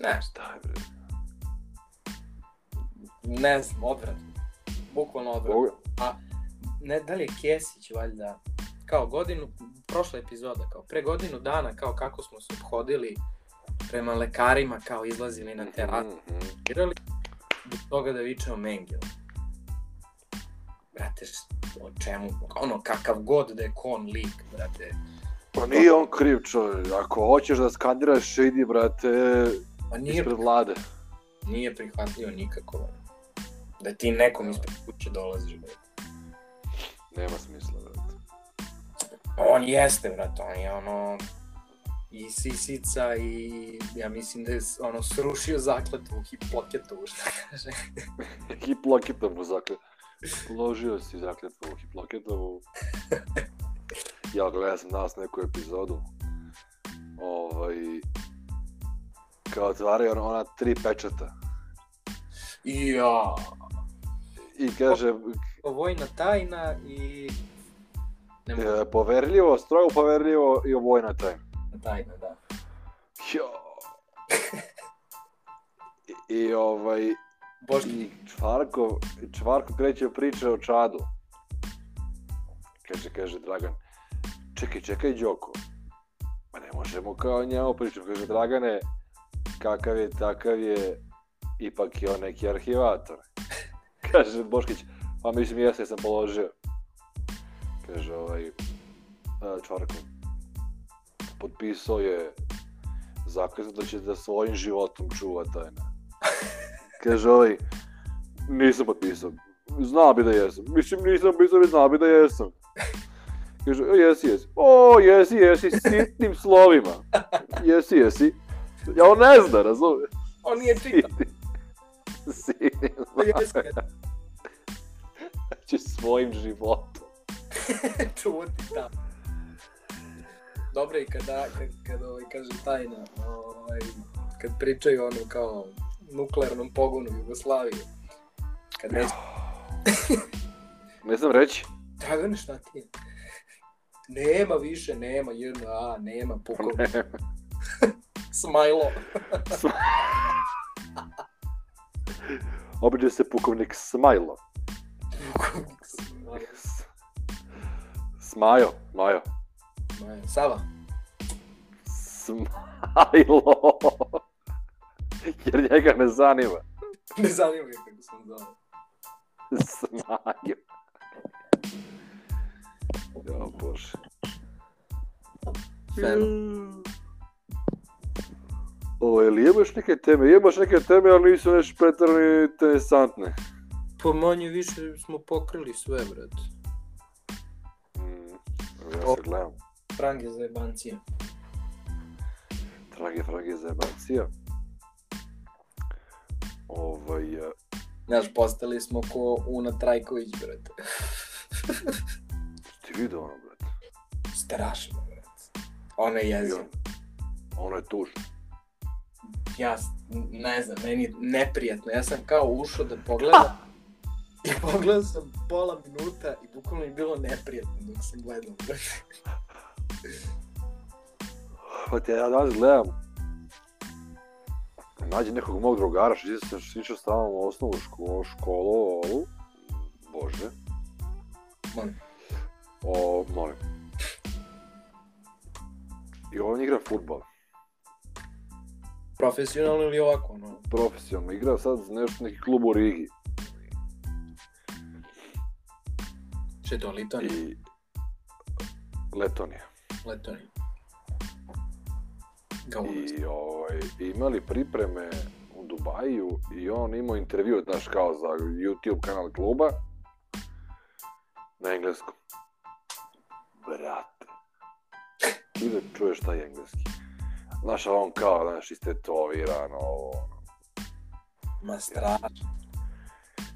S1: Znaš,
S2: Šta je, bre?
S1: ne znam, odvratno. Bukvalno odvratno.
S2: Boga.
S1: ne, da li je Kesić valjda, kao godinu, prošla epizoda, kao pre godinu dana, kao kako smo se obhodili prema lekarima, kao izlazili na terasirali,
S2: Mhm.
S1: do toga da vičeo Mengel. Brate, š- o čemu, ono, kakav god da je kon lik, brate.
S2: Pa nije on kriv, čovjek. Ako hoćeš da skandiraš, idi, brate,
S1: Pa nije,
S2: ispred vlade.
S1: nije prihvatljivo nikako, ono. Da ti nekom ispred kuće dolaziš, brate.
S2: Nema smisla, brate.
S1: On jeste, brate, on je ono i sisica i ja mislim da je ono srušio zakletvu Hipoketovu, šta kaže.
S2: Hiploketovu zakle. Položio si zakljetvu Hiploketovu. Ja gledam sam danas neku epizodu. Ovaj, kao otvaraju ona- ona tri pečata.
S1: Ja.
S2: I kaže,
S1: Vojna tajna i... Ne mogu
S2: e, poverljivo, strogo poverljivo i vojna tajna.
S1: tajna, da.
S2: Jo. I, i ovaj,
S1: Bož,
S2: I Čvarkov, Čvarkov kreće priče o Čadu. Kaže, kaže Dragan, čekaj, čekaj Đoko. Ma ne možemo kao njemu pričati. Kaže, Dragane, kakav je, takav je, ipak je on neki arhivator. Kaže Boškić, pa mislim jeste, sam položio. Kaže ovaj, a, Čvarkov, potpisao je zakljeno da će da svojim životom čuva tajne. Kaže ovaj, nisam potpisao. Znao bi da jesam. Mislim, nisam potpisao, ali znao bi da jesam. Kaže, "E, jesi, jesi. O, jesi, jesi, sitnim slovima. Jesi, jesi. Ja on ne zna, razumiješ?
S1: on nije čitao,
S2: Sitnim
S1: to je jeskret.
S2: će Znači, svojim životom.
S1: Čuti tamo. Dobro je i kada, kad, kad ovaj, kaže tajna, ovaj, kad pričaju ono kao nuklearnom pogonu Jugoslavije. Kad reći,
S2: Ne znam reći.
S1: Dragane, šta ti je? Nema više, nema JNA, nema pukov.
S2: Ne.
S1: Smajlo.
S2: Obiđe se pukovnik Smajlo.
S1: Pukovnik Smajlo.
S2: S- Smajo, Majo.
S1: Smajlo. Sava.
S2: Smajlo. Jer njega ne zanima.
S1: Ne zanima ga kako sam zvao.
S2: Smajlo. Jo, bože. Mm.
S5: Feno.
S2: Ovo, ili imaš neke teme? Imaš neke teme, ali nisu nešto pretrano interesantne.
S1: Po manje više smo pokrili sve, brat.
S2: Mm, ja se gledam.
S1: Frank je zajebancija.
S2: Trage frage zajebancija. Ovaj, eh,
S1: Znaš, postali smo ko Una Trajković, brate.
S2: ti vidio ono, brate?
S1: Strašno, brate. Ona je
S2: I
S1: jezio.
S2: on- Ono je tužno.
S1: Ja s- ne znam, meni je neprijatno. Ja sam kao ušao da pogledam. I pogledao sam pola minuta i bukvalno mi je bilo neprijatno dok sam gledao.
S2: Pa te ja danas gledam, nađe nekog mog drugara, što se što se tiče stalno u osnovu školu, školu, ovu, bože.
S1: Molim.
S2: O, molim. I on igra futbal.
S1: Profesionalno ili ovako, ono?
S2: profesionalno igrao sad za nešto neki klub u Rigi
S1: Še to, Litoni?
S2: i Letonija.
S1: Letoni. Kao I...
S2: I ovaj, imali pripreme u Dubaju i on imao intervju, znaš, kao za YouTube kanal kluba na engleskom. Brate. Ti da čuješ taj engleski. Znaš, a on kao, znaš, istetoviran, ovo, ono,
S1: Ma strašno.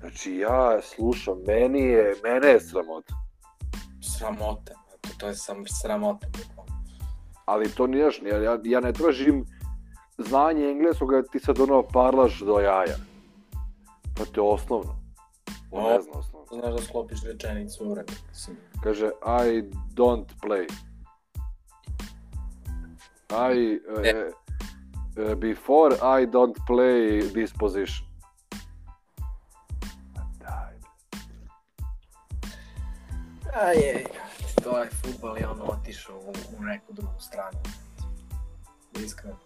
S2: Znači, ja slušam, meni je, mene je sramota.
S1: Sramota. To, to je sam sramota. bukvalno.
S2: ali to nije još, ja, ja- ja ne tražim znanje engleskog, a ti sad ono parlaš do jaja. Pa to je osnovno. On ne zna osnovno.
S1: Znaš da sklopiš rečenicu u redu. Mislim,
S2: Kaže, I don't play. I, e, e, before I don't play this position. Ma daj,
S1: A je, to je futbal je ono otišao u, u neku drugu stranu. Iskreno.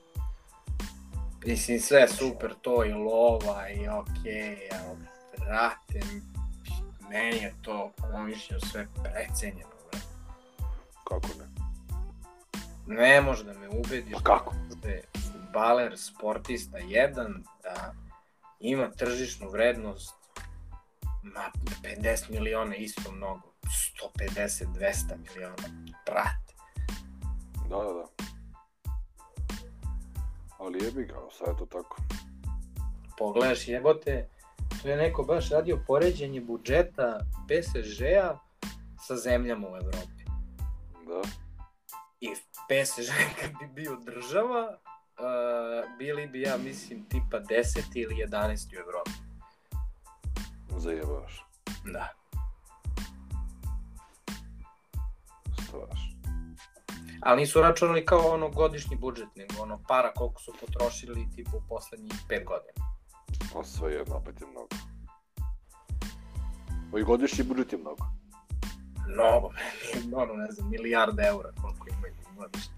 S1: Mislim, sve je super, to i lova i okej, ali brate, meni je to pomišljeno sve precenjeno. brate.
S2: kako ne?
S1: Ne može da me ubediš
S2: Pa kako?
S1: da je futbaler, sportista jedan, da ima tržišnu vrednost ma 50 miliona je isto mnogo, 150, 200 miliona, brate.
S2: Da, da, da. Ali jebi ga, sad je to tako.
S1: Pogledaš jebote, tu je neko baš radio poređenje budžeta PSG-a sa zemljama u Evropi.
S2: Da.
S1: I PSG kad bi bio država, uh, bili bi ja mislim tipa 10 ili 11 u Evropi.
S2: Zajebaš.
S1: Da.
S2: Straš.
S1: Ali nisu računali kao ono godišnji budžet, nego ono para koliko su potrošili tipa u poslednjih 5 godina.
S2: Pa sve jedno, opet je mnogo. Ovi godišnji budžet je mnogo.
S1: Mnogo, meni, ono ne znam, milijarda eura koliko imaju, ima ništa.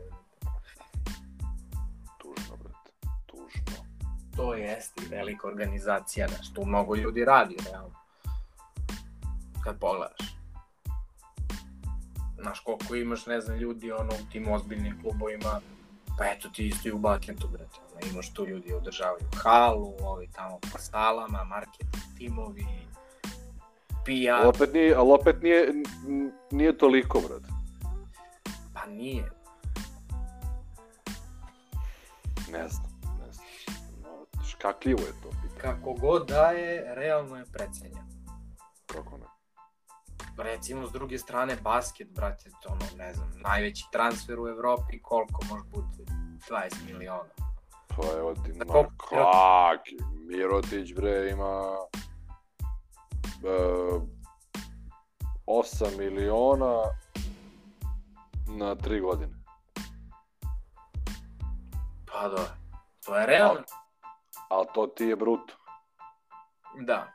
S2: Tužno, brate. Tužno.
S1: To jeste i velika organizacija, znaš, tu mnogo ljudi radi, realno. Kad pogledaš. Znaš, koliko imaš, ne znam, ljudi ono, u tim ozbiljnim klubovima, pa eto ti isto i u Batlentu, brate. Ono, imaš tu ljudi održavaju halu, ovi tamo po salama, marketing timovi, PR.
S2: Ali opet nije, ali opet nije, n- nije toliko, brate.
S1: Pa nije.
S2: Ne znam, ne znam. No, škakljivo je to pitanje,
S1: Kako god da je, realno je precenjeno.
S2: kako ne.
S6: recimo s druge strane basket, brate, to ono, ne znam, najveći transfer u Evropi, koliko može biti? 20 miliona.
S2: Pa evo ti,
S6: Na
S2: ma
S6: koliko-
S2: kak, Mirotić bre ima e, 8 miliona na 3 godine.
S6: Pa da, to je realno.
S2: Ali to ti je bruto.
S6: Da.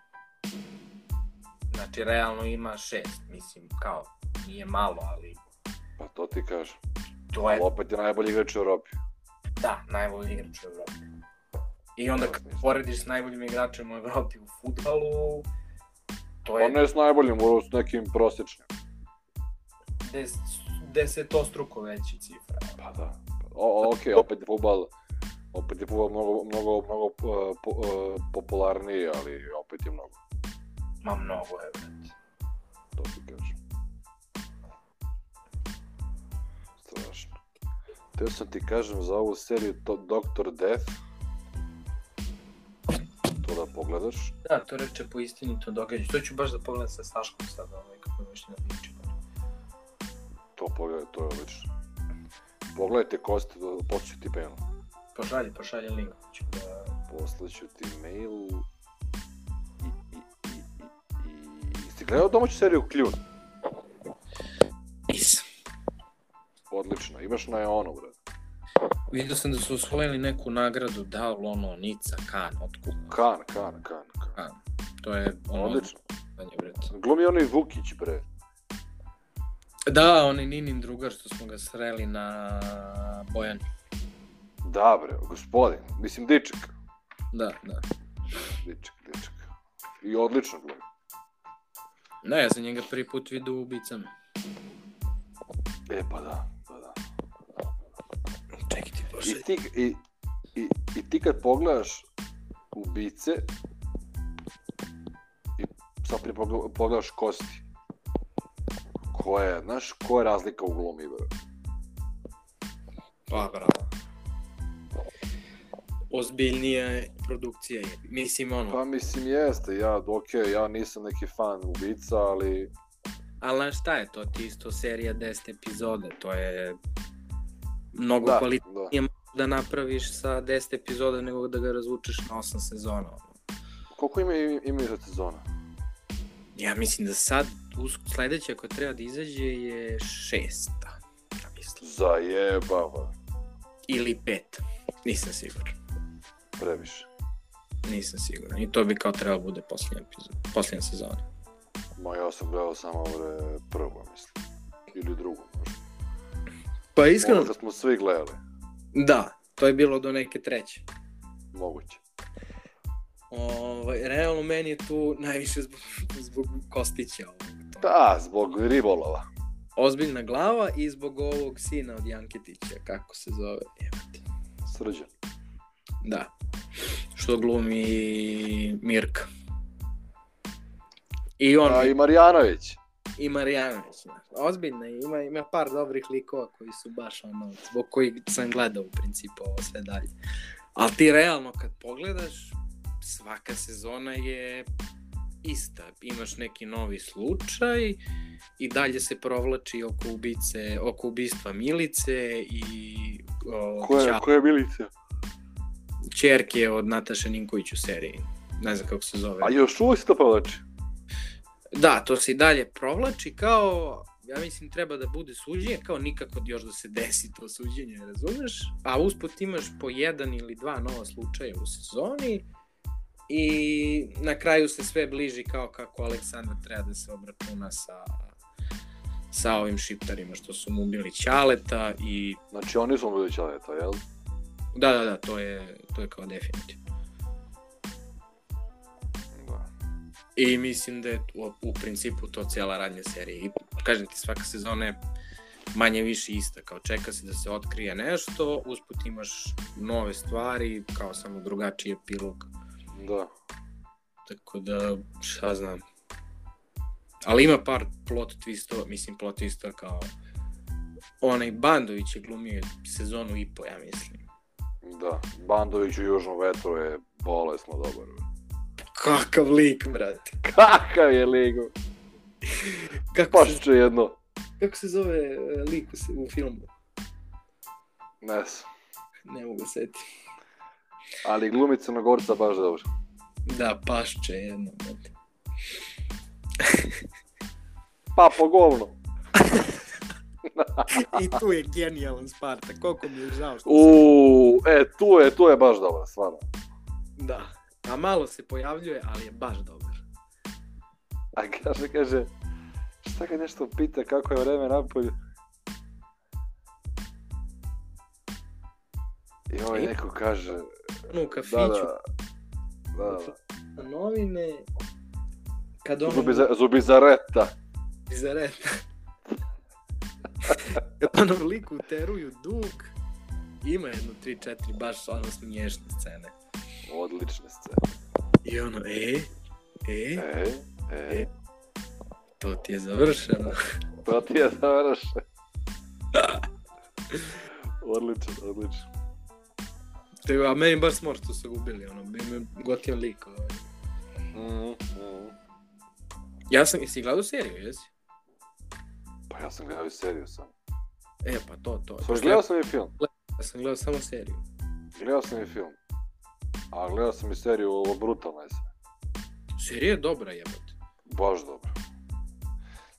S6: Znači, realno ima šest, mislim, kao, nije malo, ali
S2: Pa to ti kažem.
S6: to je,
S2: Ali opet je najbolji igrač u Europi.
S6: da, najbolji igrač u Evropi. I onda kad porediš s najboljim igračem u Evropi u futbalu, to
S2: Pa
S6: je
S2: ne s najboljim, ono s nekim prosječnim.
S6: des, desetostruko veći cifra.
S2: Pa da. O, ok, opet je futbal, opet je futbal mnogo, mnogo, mnogo e, po, e, popularniji, ali opet je mnogo.
S6: Ma mnogo je, brate.
S2: To ti kažem. Strašno. Teo sam ti kažem za ovu seriju to Dr. Death. To da pogledaš.
S6: Da, to reče po istinito događaju. To ću baš da pogledam sa Saškom sad, ovaj, kako je već na priči.
S2: To pogledaj, to je odlično. Pogledajte Koste, pošli ti mail.
S6: Pošalje, pošalje link. Ću da...
S2: Poslaću ti mail. I, i, i, i, i... Ste gledao domaću seriju Kljun?
S1: Nisam.
S2: Odlično, imaš na ono, bre.
S1: Vidio sam da su osvojili neku nagradu, da li ono, Nica, Kan, otkud.
S2: Kan, kan, kan, kan.
S1: To je ono...
S2: Odlično.
S1: znanje, brate.
S2: Glumi onaj Vukić, bre.
S1: Da, on je Ninin drugar što smo ga sreli na Bojani.
S2: Da, bre, gospodin. Mislim, dičak.
S1: Da, da.
S2: Ličak, ličak. I odlično glumi.
S1: Da, ja sam njega prvi put vidio u ubicama.
S2: E, pa da, pa da.
S1: Čekaj ti
S2: I ti, i, i, i ti kad pogledaš ubice, i sad prije pogle- pogledaš kosti, ko je, znaš, koja je razlika u glumi, bro?
S1: Pa, bravo. Ozbiljnija je produkcija je. Mislim, ono,
S2: Pa mislim, jeste, ja, okej, ja nisam neki fan ubica, ali
S1: ali znaš šta je to? Ti isto serija 10 epizoda, to je mnogo
S2: da,
S1: kvalitetnije
S2: da,
S1: da napraviš sa 10 epizoda nego da ga razvučeš na 8 sezona. ono.
S2: koliko ima, ima za sezona?
S1: Ja mislim da sad, usk, sledeća koja treba da izađe je šesta, ja mislim.
S2: Zajebava,
S1: Ili peta, nisam siguran.
S2: previše.
S1: Nisam siguran. I to bi kao trebalo da bude posljednja, epizoda, posljednja sezona.
S2: Ma ja sam gledao samo, bre, prvo, mislim. Ili drugo, možda.
S1: Pa
S2: Iskreno? Možda smo svi gledali,
S1: Da, to je bilo do neke treće.
S2: moguće.
S1: Ovaj, realno meni je tu najviše zbog, zbog Kostića. ovaj. Ovog, to.
S2: Da, zbog ribolova.
S1: Ozbiljna glava i zbog ovog sina od Janketića, kako se zove. Evo ti.
S2: Srđan.
S1: Da. Što glumi Mirka. I on,
S2: A i Marjanović.
S1: i Marijanović. znaš. Ozbiljno, je, ima, ima par dobrih likova koji su baš ono, zbog kojih sam gledao u principu ovo sve dalje. Ali ti realno kad pogledaš, svaka sezona je ista. Imaš neki novi slučaj i dalje se provlači oko ubice, oko ubistva Milice i o,
S2: Ko je,
S1: ćao-
S2: ko je Milica?
S1: čerke od Nataše Ninković u seriji. Ne znam kako se zove.
S2: A još uvijek se to pa znači, provlači.
S1: Da, to se i dalje provlači kao, ja mislim treba da bude suđenje, kao nikako još da se desi to suđenje, razumeš? A usput imaš po jedan ili dva nova slučaja u sezoni i na kraju se sve bliži kao kako Aleksandar treba da se obračuna sa sa ovim šiptarima što su mu ubili Ćaleta i
S2: Znači oni su mu bili čaleta, jel?
S1: da, da, da, to je, to je kao definitivno.
S2: Da.
S1: I mislim da je u, u principu to cijela radnja serije. I kažem ti, svaka sezona je manje više ista, kao čeka se da se otkrije nešto, usput imaš nove stvari, kao samo drugačiji epilog,
S2: Da.
S1: tako da šta znam. Ali ima par plot twistova, mislim plot twistova kao onaj Bandović je glumio sezonu i po, ja mislim.
S2: Da. Bandović u Južnom vetru je bolesno dobar.
S1: Kakav lik, brate.
S2: Kakav je ligu?
S1: Kako, se,
S2: Pašće jedno.
S1: kako se zove e, lik u se- u filmu?
S2: Ne znam.
S1: Ne mogu da setiti.
S2: Ali glumi Crnogorca baš dobro.
S1: Da, pašče jedno. brate.
S2: Pa, po govnu.
S5: I tu je genijalan Sparta, koliko mi je žao što sam...
S2: Uuu, e, tu je, tu je baš dobro, stvarno.
S1: Da. A malo se pojavljuje, ali je baš dobar.
S2: A kaže, kaže, šta ga nešto pita kako je vreme napolju? I ovaj neko kaže,
S1: Ono u kafiću,
S2: da, da, da, da.
S1: novine, kad ono...
S2: Zubiza, zubizareta.
S1: Bizareta. Kad onom liku uteruju dug, ima jedno 3-4 baš ono smiješne scene.
S2: Odlične scene.
S1: I ono, e, e,
S2: E, e,
S1: to ti je završeno.
S2: to ti je završen. odličan, odličan.
S1: To je, a meni baš smor što su gubili, ono, bio mi je gotivan lik. Ovaj.
S2: Mm, mm.
S1: Ja sam, jesi gledao seriju, jesi?
S2: Pa ja sam gledao i seriju sam.
S1: E, pa to, to.
S2: Sorry, gledao sam i film.
S1: Ja sam gledao samo seriju.
S2: Gledao sam i film. A gledao sam i seriju, ovo brutalna je sve.
S1: Serija je dobra, jebote.
S2: Baš dobro.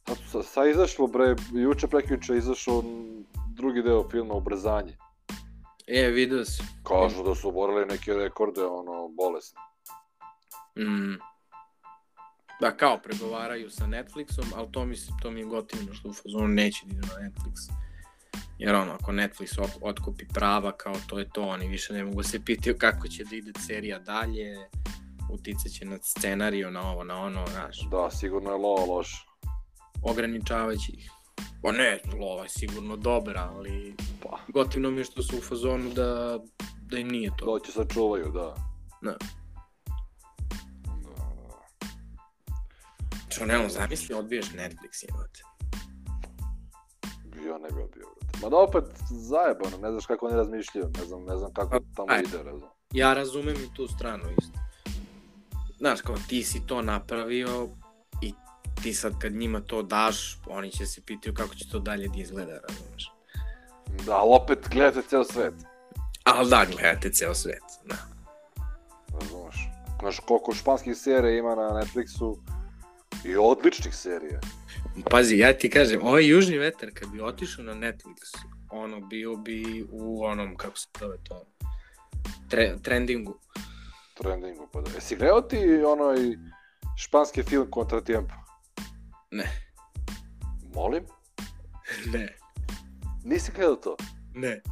S2: Sad, sa, sa izašlo, bre, juče prekjuče je izašao m, drugi deo filma Ubrzanje.
S1: E, vidio si.
S2: Kažu
S1: Mhm.
S2: da su oborili neke rekorde, ono, bolesne.
S1: Mm. Da, kao pregovaraju sa Netflixom, ali to mi, se, to mi je gotivno što u fazonu neće da idu na Netflix. Jer ono, ako Netflix ok- otkupi prava, kao to je to, oni više ne mogu se pitaju kako će da ide serija dalje, uticat će na scenariju, na ovo, na ono, znaš,
S2: Da, sigurno je lova loša.
S1: ograničavajući ih. Pa ne, lova je sigurno dobra, ali
S2: Pa.
S1: gotivno mi je što su u fazonu da, da im nije to.
S2: To će sačuvaju, da.
S1: Ne.
S2: Da, da.
S1: Čo, ne, ono, zamisli, odbiješ Netflix, jebate.
S2: Ja ne bi odbio, brate. Mada opet, zajebano, ne znaš kako oni razmišljaju, ne znam, ne znam kako tamo
S1: Ajde.
S2: ide, razum.
S1: ja razumem i tu stranu isto. Znaš, kao ti si to napravio i ti sad kad njima to daš, oni će se pitaju kako će to dalje da izgleda, razumeš?
S2: Da, ali opet gledate ceo svet,
S1: Ali da, gledate ceo svet, da.
S2: razumeš. Znaš, koliko španskih serija ima na Netflixu i odličnih serija.
S1: Pazi, ja ti kažem, ovaj južni vetar kad bi otišao na Netflix, ono, bio bi u onom, kako se zove to, tre, trendingu.
S2: trendingu pa da. Jesi gledao ti onaj španski film Kontratiempo?
S1: Ne.
S2: Molim?
S1: Ne,
S2: Nisi gledao to?
S1: ne.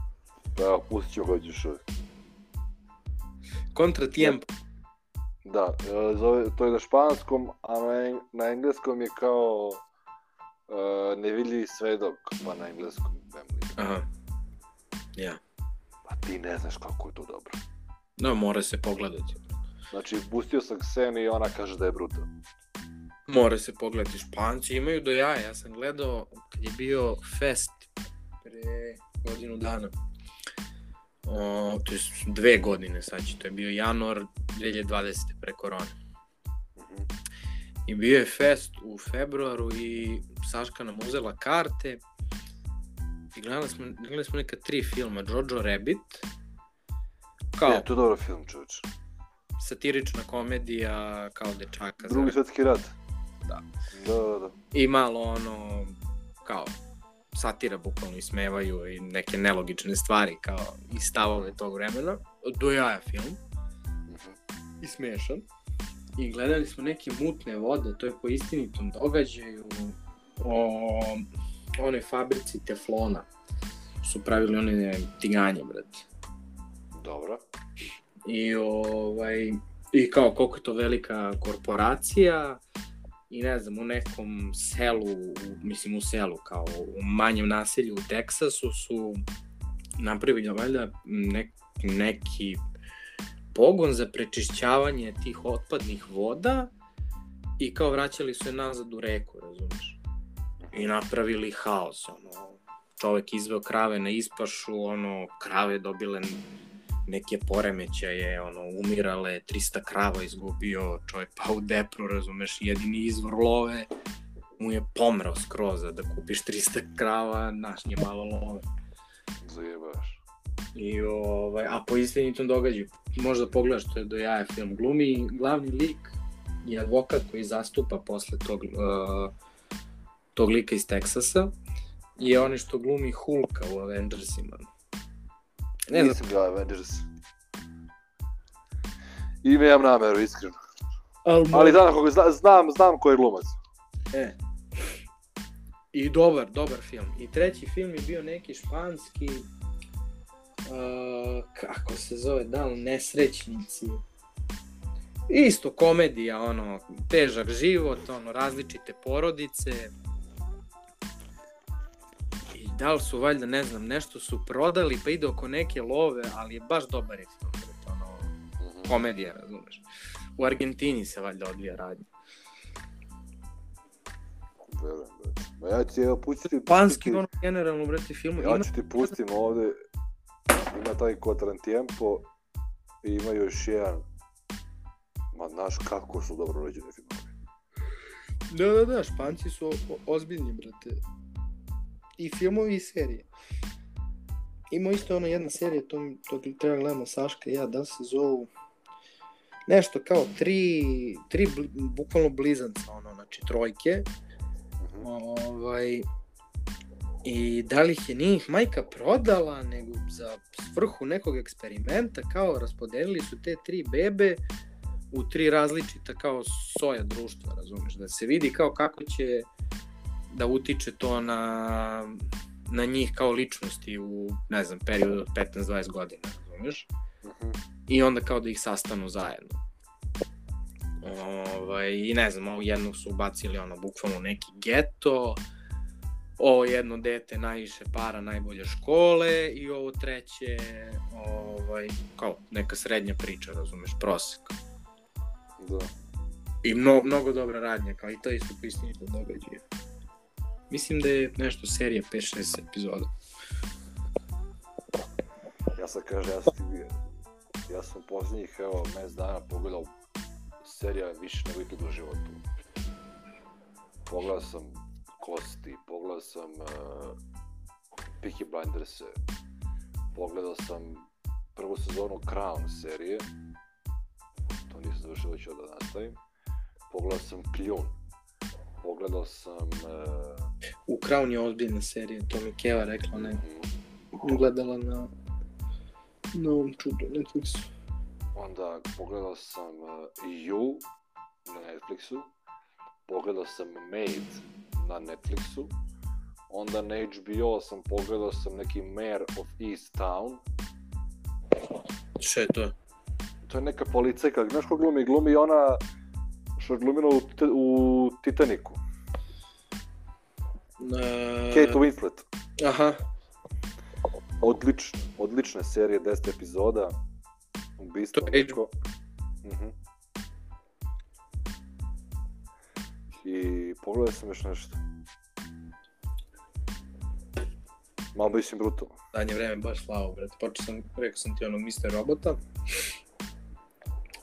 S2: Pa evo, pustit ću ga ćeš.
S1: Kontratijemp.
S2: Da, e, zove, to je na španskom, a na, eng- na engleskom je kao uh, nevidljivi svedok, pa na engleskom. nemam ni-
S1: Aha.
S2: A ti ne znaš kako je to dobro.
S1: Da, mora se pogledati.
S2: Znači, pustio sam Kseni i ona kaže da je brutalno.
S1: Mora se pogledati. Španci imaju do jaja. Ja sam gledao kad je bio fest pre godinu dana. O, to je s- dve godine sad će. To je bio januar 2020. pre korone.
S2: Mhm.
S1: I bio je fest u februaru i Saška nam uzela karte i gledali smo, gledali smo neka tri filma. Jojo Rabbit, kao
S2: Ne, E, to je dobro film, čovječ.
S1: satirična komedija, kao dečaka.
S2: Drugi
S1: zaradi-
S2: svetski rat.
S1: Da.
S2: Da, da, da.
S1: i malo ono kao satira bukvalno ismevaju i neke nelogične stvari kao i stavove tog vremena do jaja film
S2: Mhm.
S1: i smešan i gledali smo neke mutne vode to je po istinitom događaju o onoj fabrici teflona su pravili one tiganje brate
S2: Dobro.
S1: i ovaj i kao koliko je to velika korporacija i ne znam u nekom selu u- mislim u selu kao u manjem naselju u Teksasu su napravili valjda nek, neki pogon za prečišćavanje tih otpadnih voda i kao vraćali su je nazad u reku, razumeš? I napravili haos, ono, čovek izveo krave na ispašu, ono, krave dobile neke poremećaje, ono, umirale, 300 krava izgubio, čovjek pa u depru, razumeš, jedini izvor love,
S5: mu je pomrao skroz a da kupiš 300 krava, naš je malo love.
S2: Zajebaš.
S5: I, ovaj, a po istinitom događaju, možda pogledaš to je do jaja film glumi, glavni lik je advokat koji zastupa posle tog, uh, tog lika iz Teksasa i je onaj što glumi Hulka u Avengersima. Ne
S2: Ne
S5: znam,
S2: Nisam gledao Avengers. I nemam nameru, iskreno.
S5: ali,
S2: Ali znam, koga, zna- znam, znam ko je glumac.
S5: E. I dobar, dobar film. I treći film je bio neki španski uh, kako se zove, da li nesrećnici. Isto komedija, ono, težak život, ono, različite porodice. I da li su, valjda, ne znam, nešto su prodali, pa ide oko neke love, ali je baš dobar je film, brate, ono, komedija, razumeš. U Argentini se valjda odvija radnja.
S2: Verujem, brate. Ma ja ću ti, evo, pustim...
S5: Panski, ono, generalno, brate, film.
S2: Ja ću ti pustim ovde, ima taj Kotran Tiempo i ima još jedan, ma znaš kako su dobro urađeni filmovi.
S1: Da, da, da, Španci su o, o, ozbiljni, brate. I filmovi i serije. Ima isto ona jedna serija, to, mi- to treba gledamo Saška i ja, da li se zovu nešto kao tri, tri bl, bukvalno blizanca, ono, znači trojke.
S2: Mhm.
S1: Ovaj, I da li ih je nije ih majka prodala, nego za svrhu nekog eksperimenta, kao raspodelili su te tri bebe u tri različita kao soja društva, razumeš, da se vidi kao kako će da utiče to na, na njih kao ličnosti u, ne znam, periodu od 15-20 godina, razumeš?
S2: Mhm.
S1: I onda kao da ih sastanu zajedno. Ovaj, I ne znam, ovog jednog su ubacili ono, bukvalno u neki geto, ovo jedno dete najviše para, najbolje škole i ovo treće ovaj, kao neka srednja priča, razumeš, prosek.
S2: Da.
S1: I mno, mnogo dobra radnja, kao i to isto po istinito događaju. Mislim da je nešto serija 5-6 epizoda.
S2: Ja sam kaže, ja sam, ti- ja sam posljednjih, evo, mjesec dana pogledao serija više nego ikad u životu. Pogledao sam Kosti, pogledao sam uh, Peaky Blinders, pogledao sam prvu sezonu Crown serije, to nisam završio, hoću da nastavim. Pogledao sam Kljun, pogledao sam... Uh,
S1: U Crown je ozbiljna serija, to mi je Keva rekla, ona je gledala na na ovom čudu Netflixu.
S2: Onda pogledao sam uh, You na Netflixu, pogledao sam Maid na Netflixu, onda na HBO sam pogledao sam neki Mayor of East Town,
S1: Šta je to?
S2: to je neka policajka, znaš ko glumi? Glumi ona što je glumila u, Tit- u Titaniku,
S1: E,
S2: Kate Winslet.
S1: Aha,
S2: Odlič, odlična serija, 10 epizoda, ubistvo
S1: To je
S2: neko. Mhm. I pogledao sam još nešto. Malo mislim brutalno.
S1: zadnje vreme baš slavo, brate. Počeo sam, rekao sam ti ono, Mr. Robota.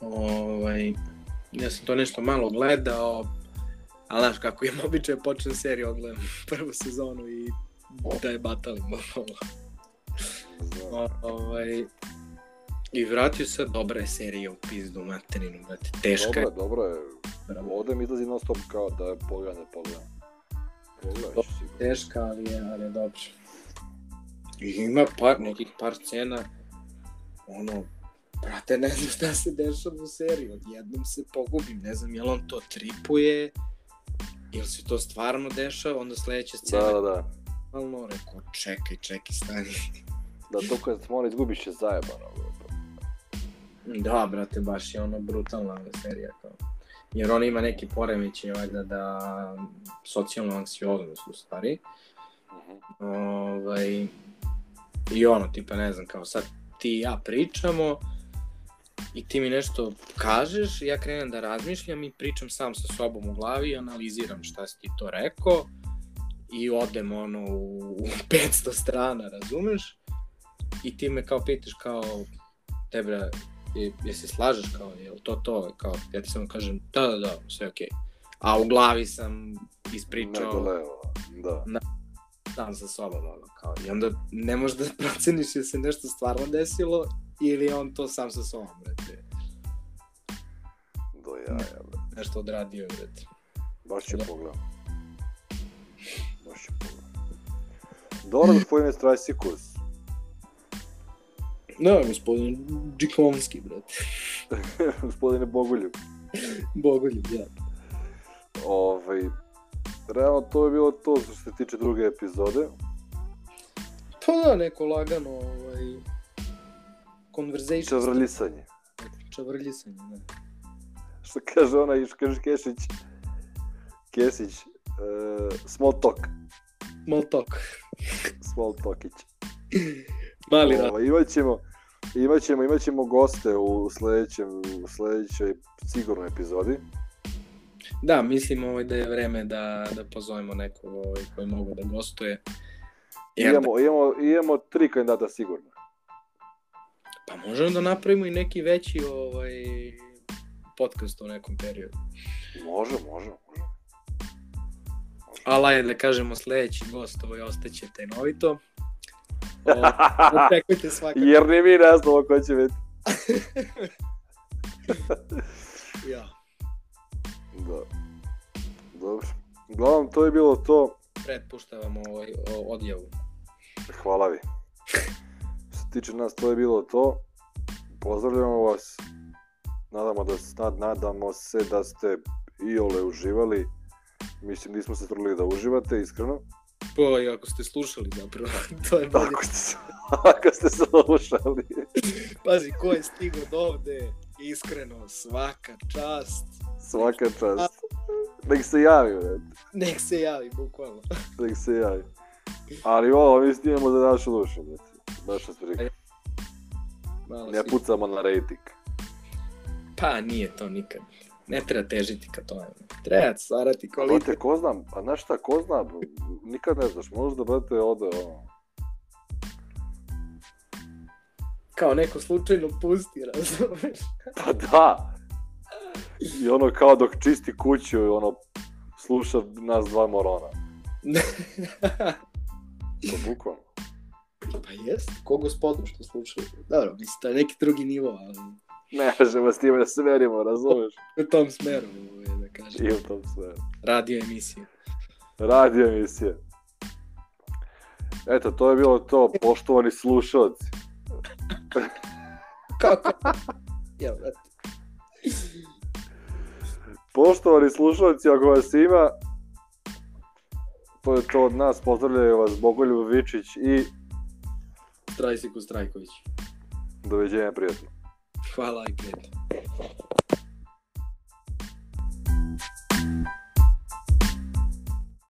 S1: Ovaj, ja sam to nešto malo gledao, ali znaš kako imam običaj, počnem seriju, odgledam prvu sezonu i da je batalim, bukvalno.
S2: Znam.
S1: O- ovaj, I vratio se, dobra je serija u pizdu materinu, brate, teška je.
S2: Dobro, dobro je.
S1: Bravo.
S2: Ovde mi izlazi non stop kao da je pogledam, da pogledam. Pogledaj,
S1: Dobro.
S2: sigurno.
S1: Teška, ali je, ali je dobro. I ima par, nekih par scena, ono, brate, ne znam šta se dešava u seriji, odjednom se pogubim, ne znam, jel on to tripuje, jel se to stvarno dešava, onda sledeća scena,
S2: Da,
S1: da.
S2: da, da.
S1: ono, rekao, čekaj, čekaj, stani.
S2: Da, to kad mora izgubiš je zajebano.
S1: Da, brate, baš je ono brutalna serija kao. Jer on ima neki poremećaj valjda da socijalno anksioznost u stvari.
S2: Mhm.
S1: Ovaj, I ono, tipa ne znam, kao sad ti i ja pričamo i ti mi nešto kažeš, ja krenem da razmišljam i pričam sam sa sobom u glavi i analiziram šta si ti to rekao i odem ono u 500 strana, razumeš? I ti me kao pitaš kao, tebra, jel se slažeš kao, jel to to, kao, ja ti samo kažem, da, da, da, sve okej. a u glavi sam ispričao
S2: Medoleo, da.
S1: sam sa sobom, ono, kao, i onda ne možeš da proceniš je se nešto stvarno desilo ili je on to sam sa sobom, brate,
S2: Do jaja, bre.
S1: nešto odradio, brate.
S2: Baš ću
S1: Da.
S2: pogledam. Baš ću pogledam. Dobro, gospodine Strajsikus.
S1: Ne, gospodin Džikovski, brate,
S2: gospodine Bogoljub.
S1: bogoljub, ja.
S2: Ovaj, realno to je bilo to što se tiče druge epizode.
S1: Pa da, neko lagano, ovaj, conversation, da.
S2: Čavrlisanje.
S1: čavrljisanje, ne.
S2: Što kaže ona iš kaže Kešić. Kesić. E, small talk.
S1: Mal talk,
S2: Small talkić.
S1: mali rad.
S2: Ovaj, imat ćemo, imat ćemo, imat ćemo goste u sledećem, u sledećoj sigurnoj epizodi.
S1: Da, mislim ovaj, da je vreme da, da pozovemo nekog ovaj, koji mogu da gostuje. Jer, da,
S2: Imamo, imamo, imamo tri kandidata sigurno.
S1: pa možemo da napravimo i neki veći ovaj, podcast u nekom periodu.
S2: Može, može, može.
S1: Ali ajde da kažemo sledeći gost ovaj, ostaće tenovito. O, očekujte svakako.
S2: Jer ni mi ne znamo ko će biti.
S1: Ja,
S2: Da. Dobro. Uglavnom, to je bilo to.
S1: pretpuštam vam ovaj, o, odjavu.
S2: Hvala vi. Što se tiče nas, to je bilo to. Pozdravljamo vas. Nadamo, da, s- nad, nadamo se da ste i ole uživali. Mislim, nismo se trudili da uživate, iskreno.
S1: Po, i ako ste slušali zapravo, to je bolje.
S2: Ako ste se, ako ste se slušali.
S1: Pazi, ko je stigao do ovde, iskreno, svaka čast.
S2: Svaka čast. Nek se javi, bre.
S1: Nek se javi, bukvalno.
S2: nek se javi. Ali ovo, mi snimamo za našu dušu, brate. Baš nas briga.
S1: Malo
S2: Ne
S1: si-
S2: pucamo na rejting.
S1: Pa nije to nikad. Ne treba težiti ka tome. Treba stvarati kvalitet.
S2: Brate, ko znam, a znaš šta, ko zna, bro? nikad ne znaš, možda, brate, ode, ono,
S1: Kao neko slučajno pusti, razumeš?
S2: pa da, i ono kao dok čisti kuću, ono, sluša nas dva morona, to bukvalno.
S1: pa jest, ko gospodu što slušaju. Dobro, mislim, to je neki drugi nivo, ali
S2: Ne možemo s time da se merimo, razumeš?
S1: u tom smeru, ovaj, da kažem.
S2: I u tom sve.
S1: Radio emisiju.
S2: Radio emisije. Eto, to je bilo to, poštovani slušalci.
S1: Kako? Ja, brate.
S2: Poštovani slušalci, ako vas ima, to je to od nas, pozdravljaju vas Bogoljub Vičić i
S1: Strajsiku Strajković.
S2: doviđenja prijatno.
S1: Hvala i kretu.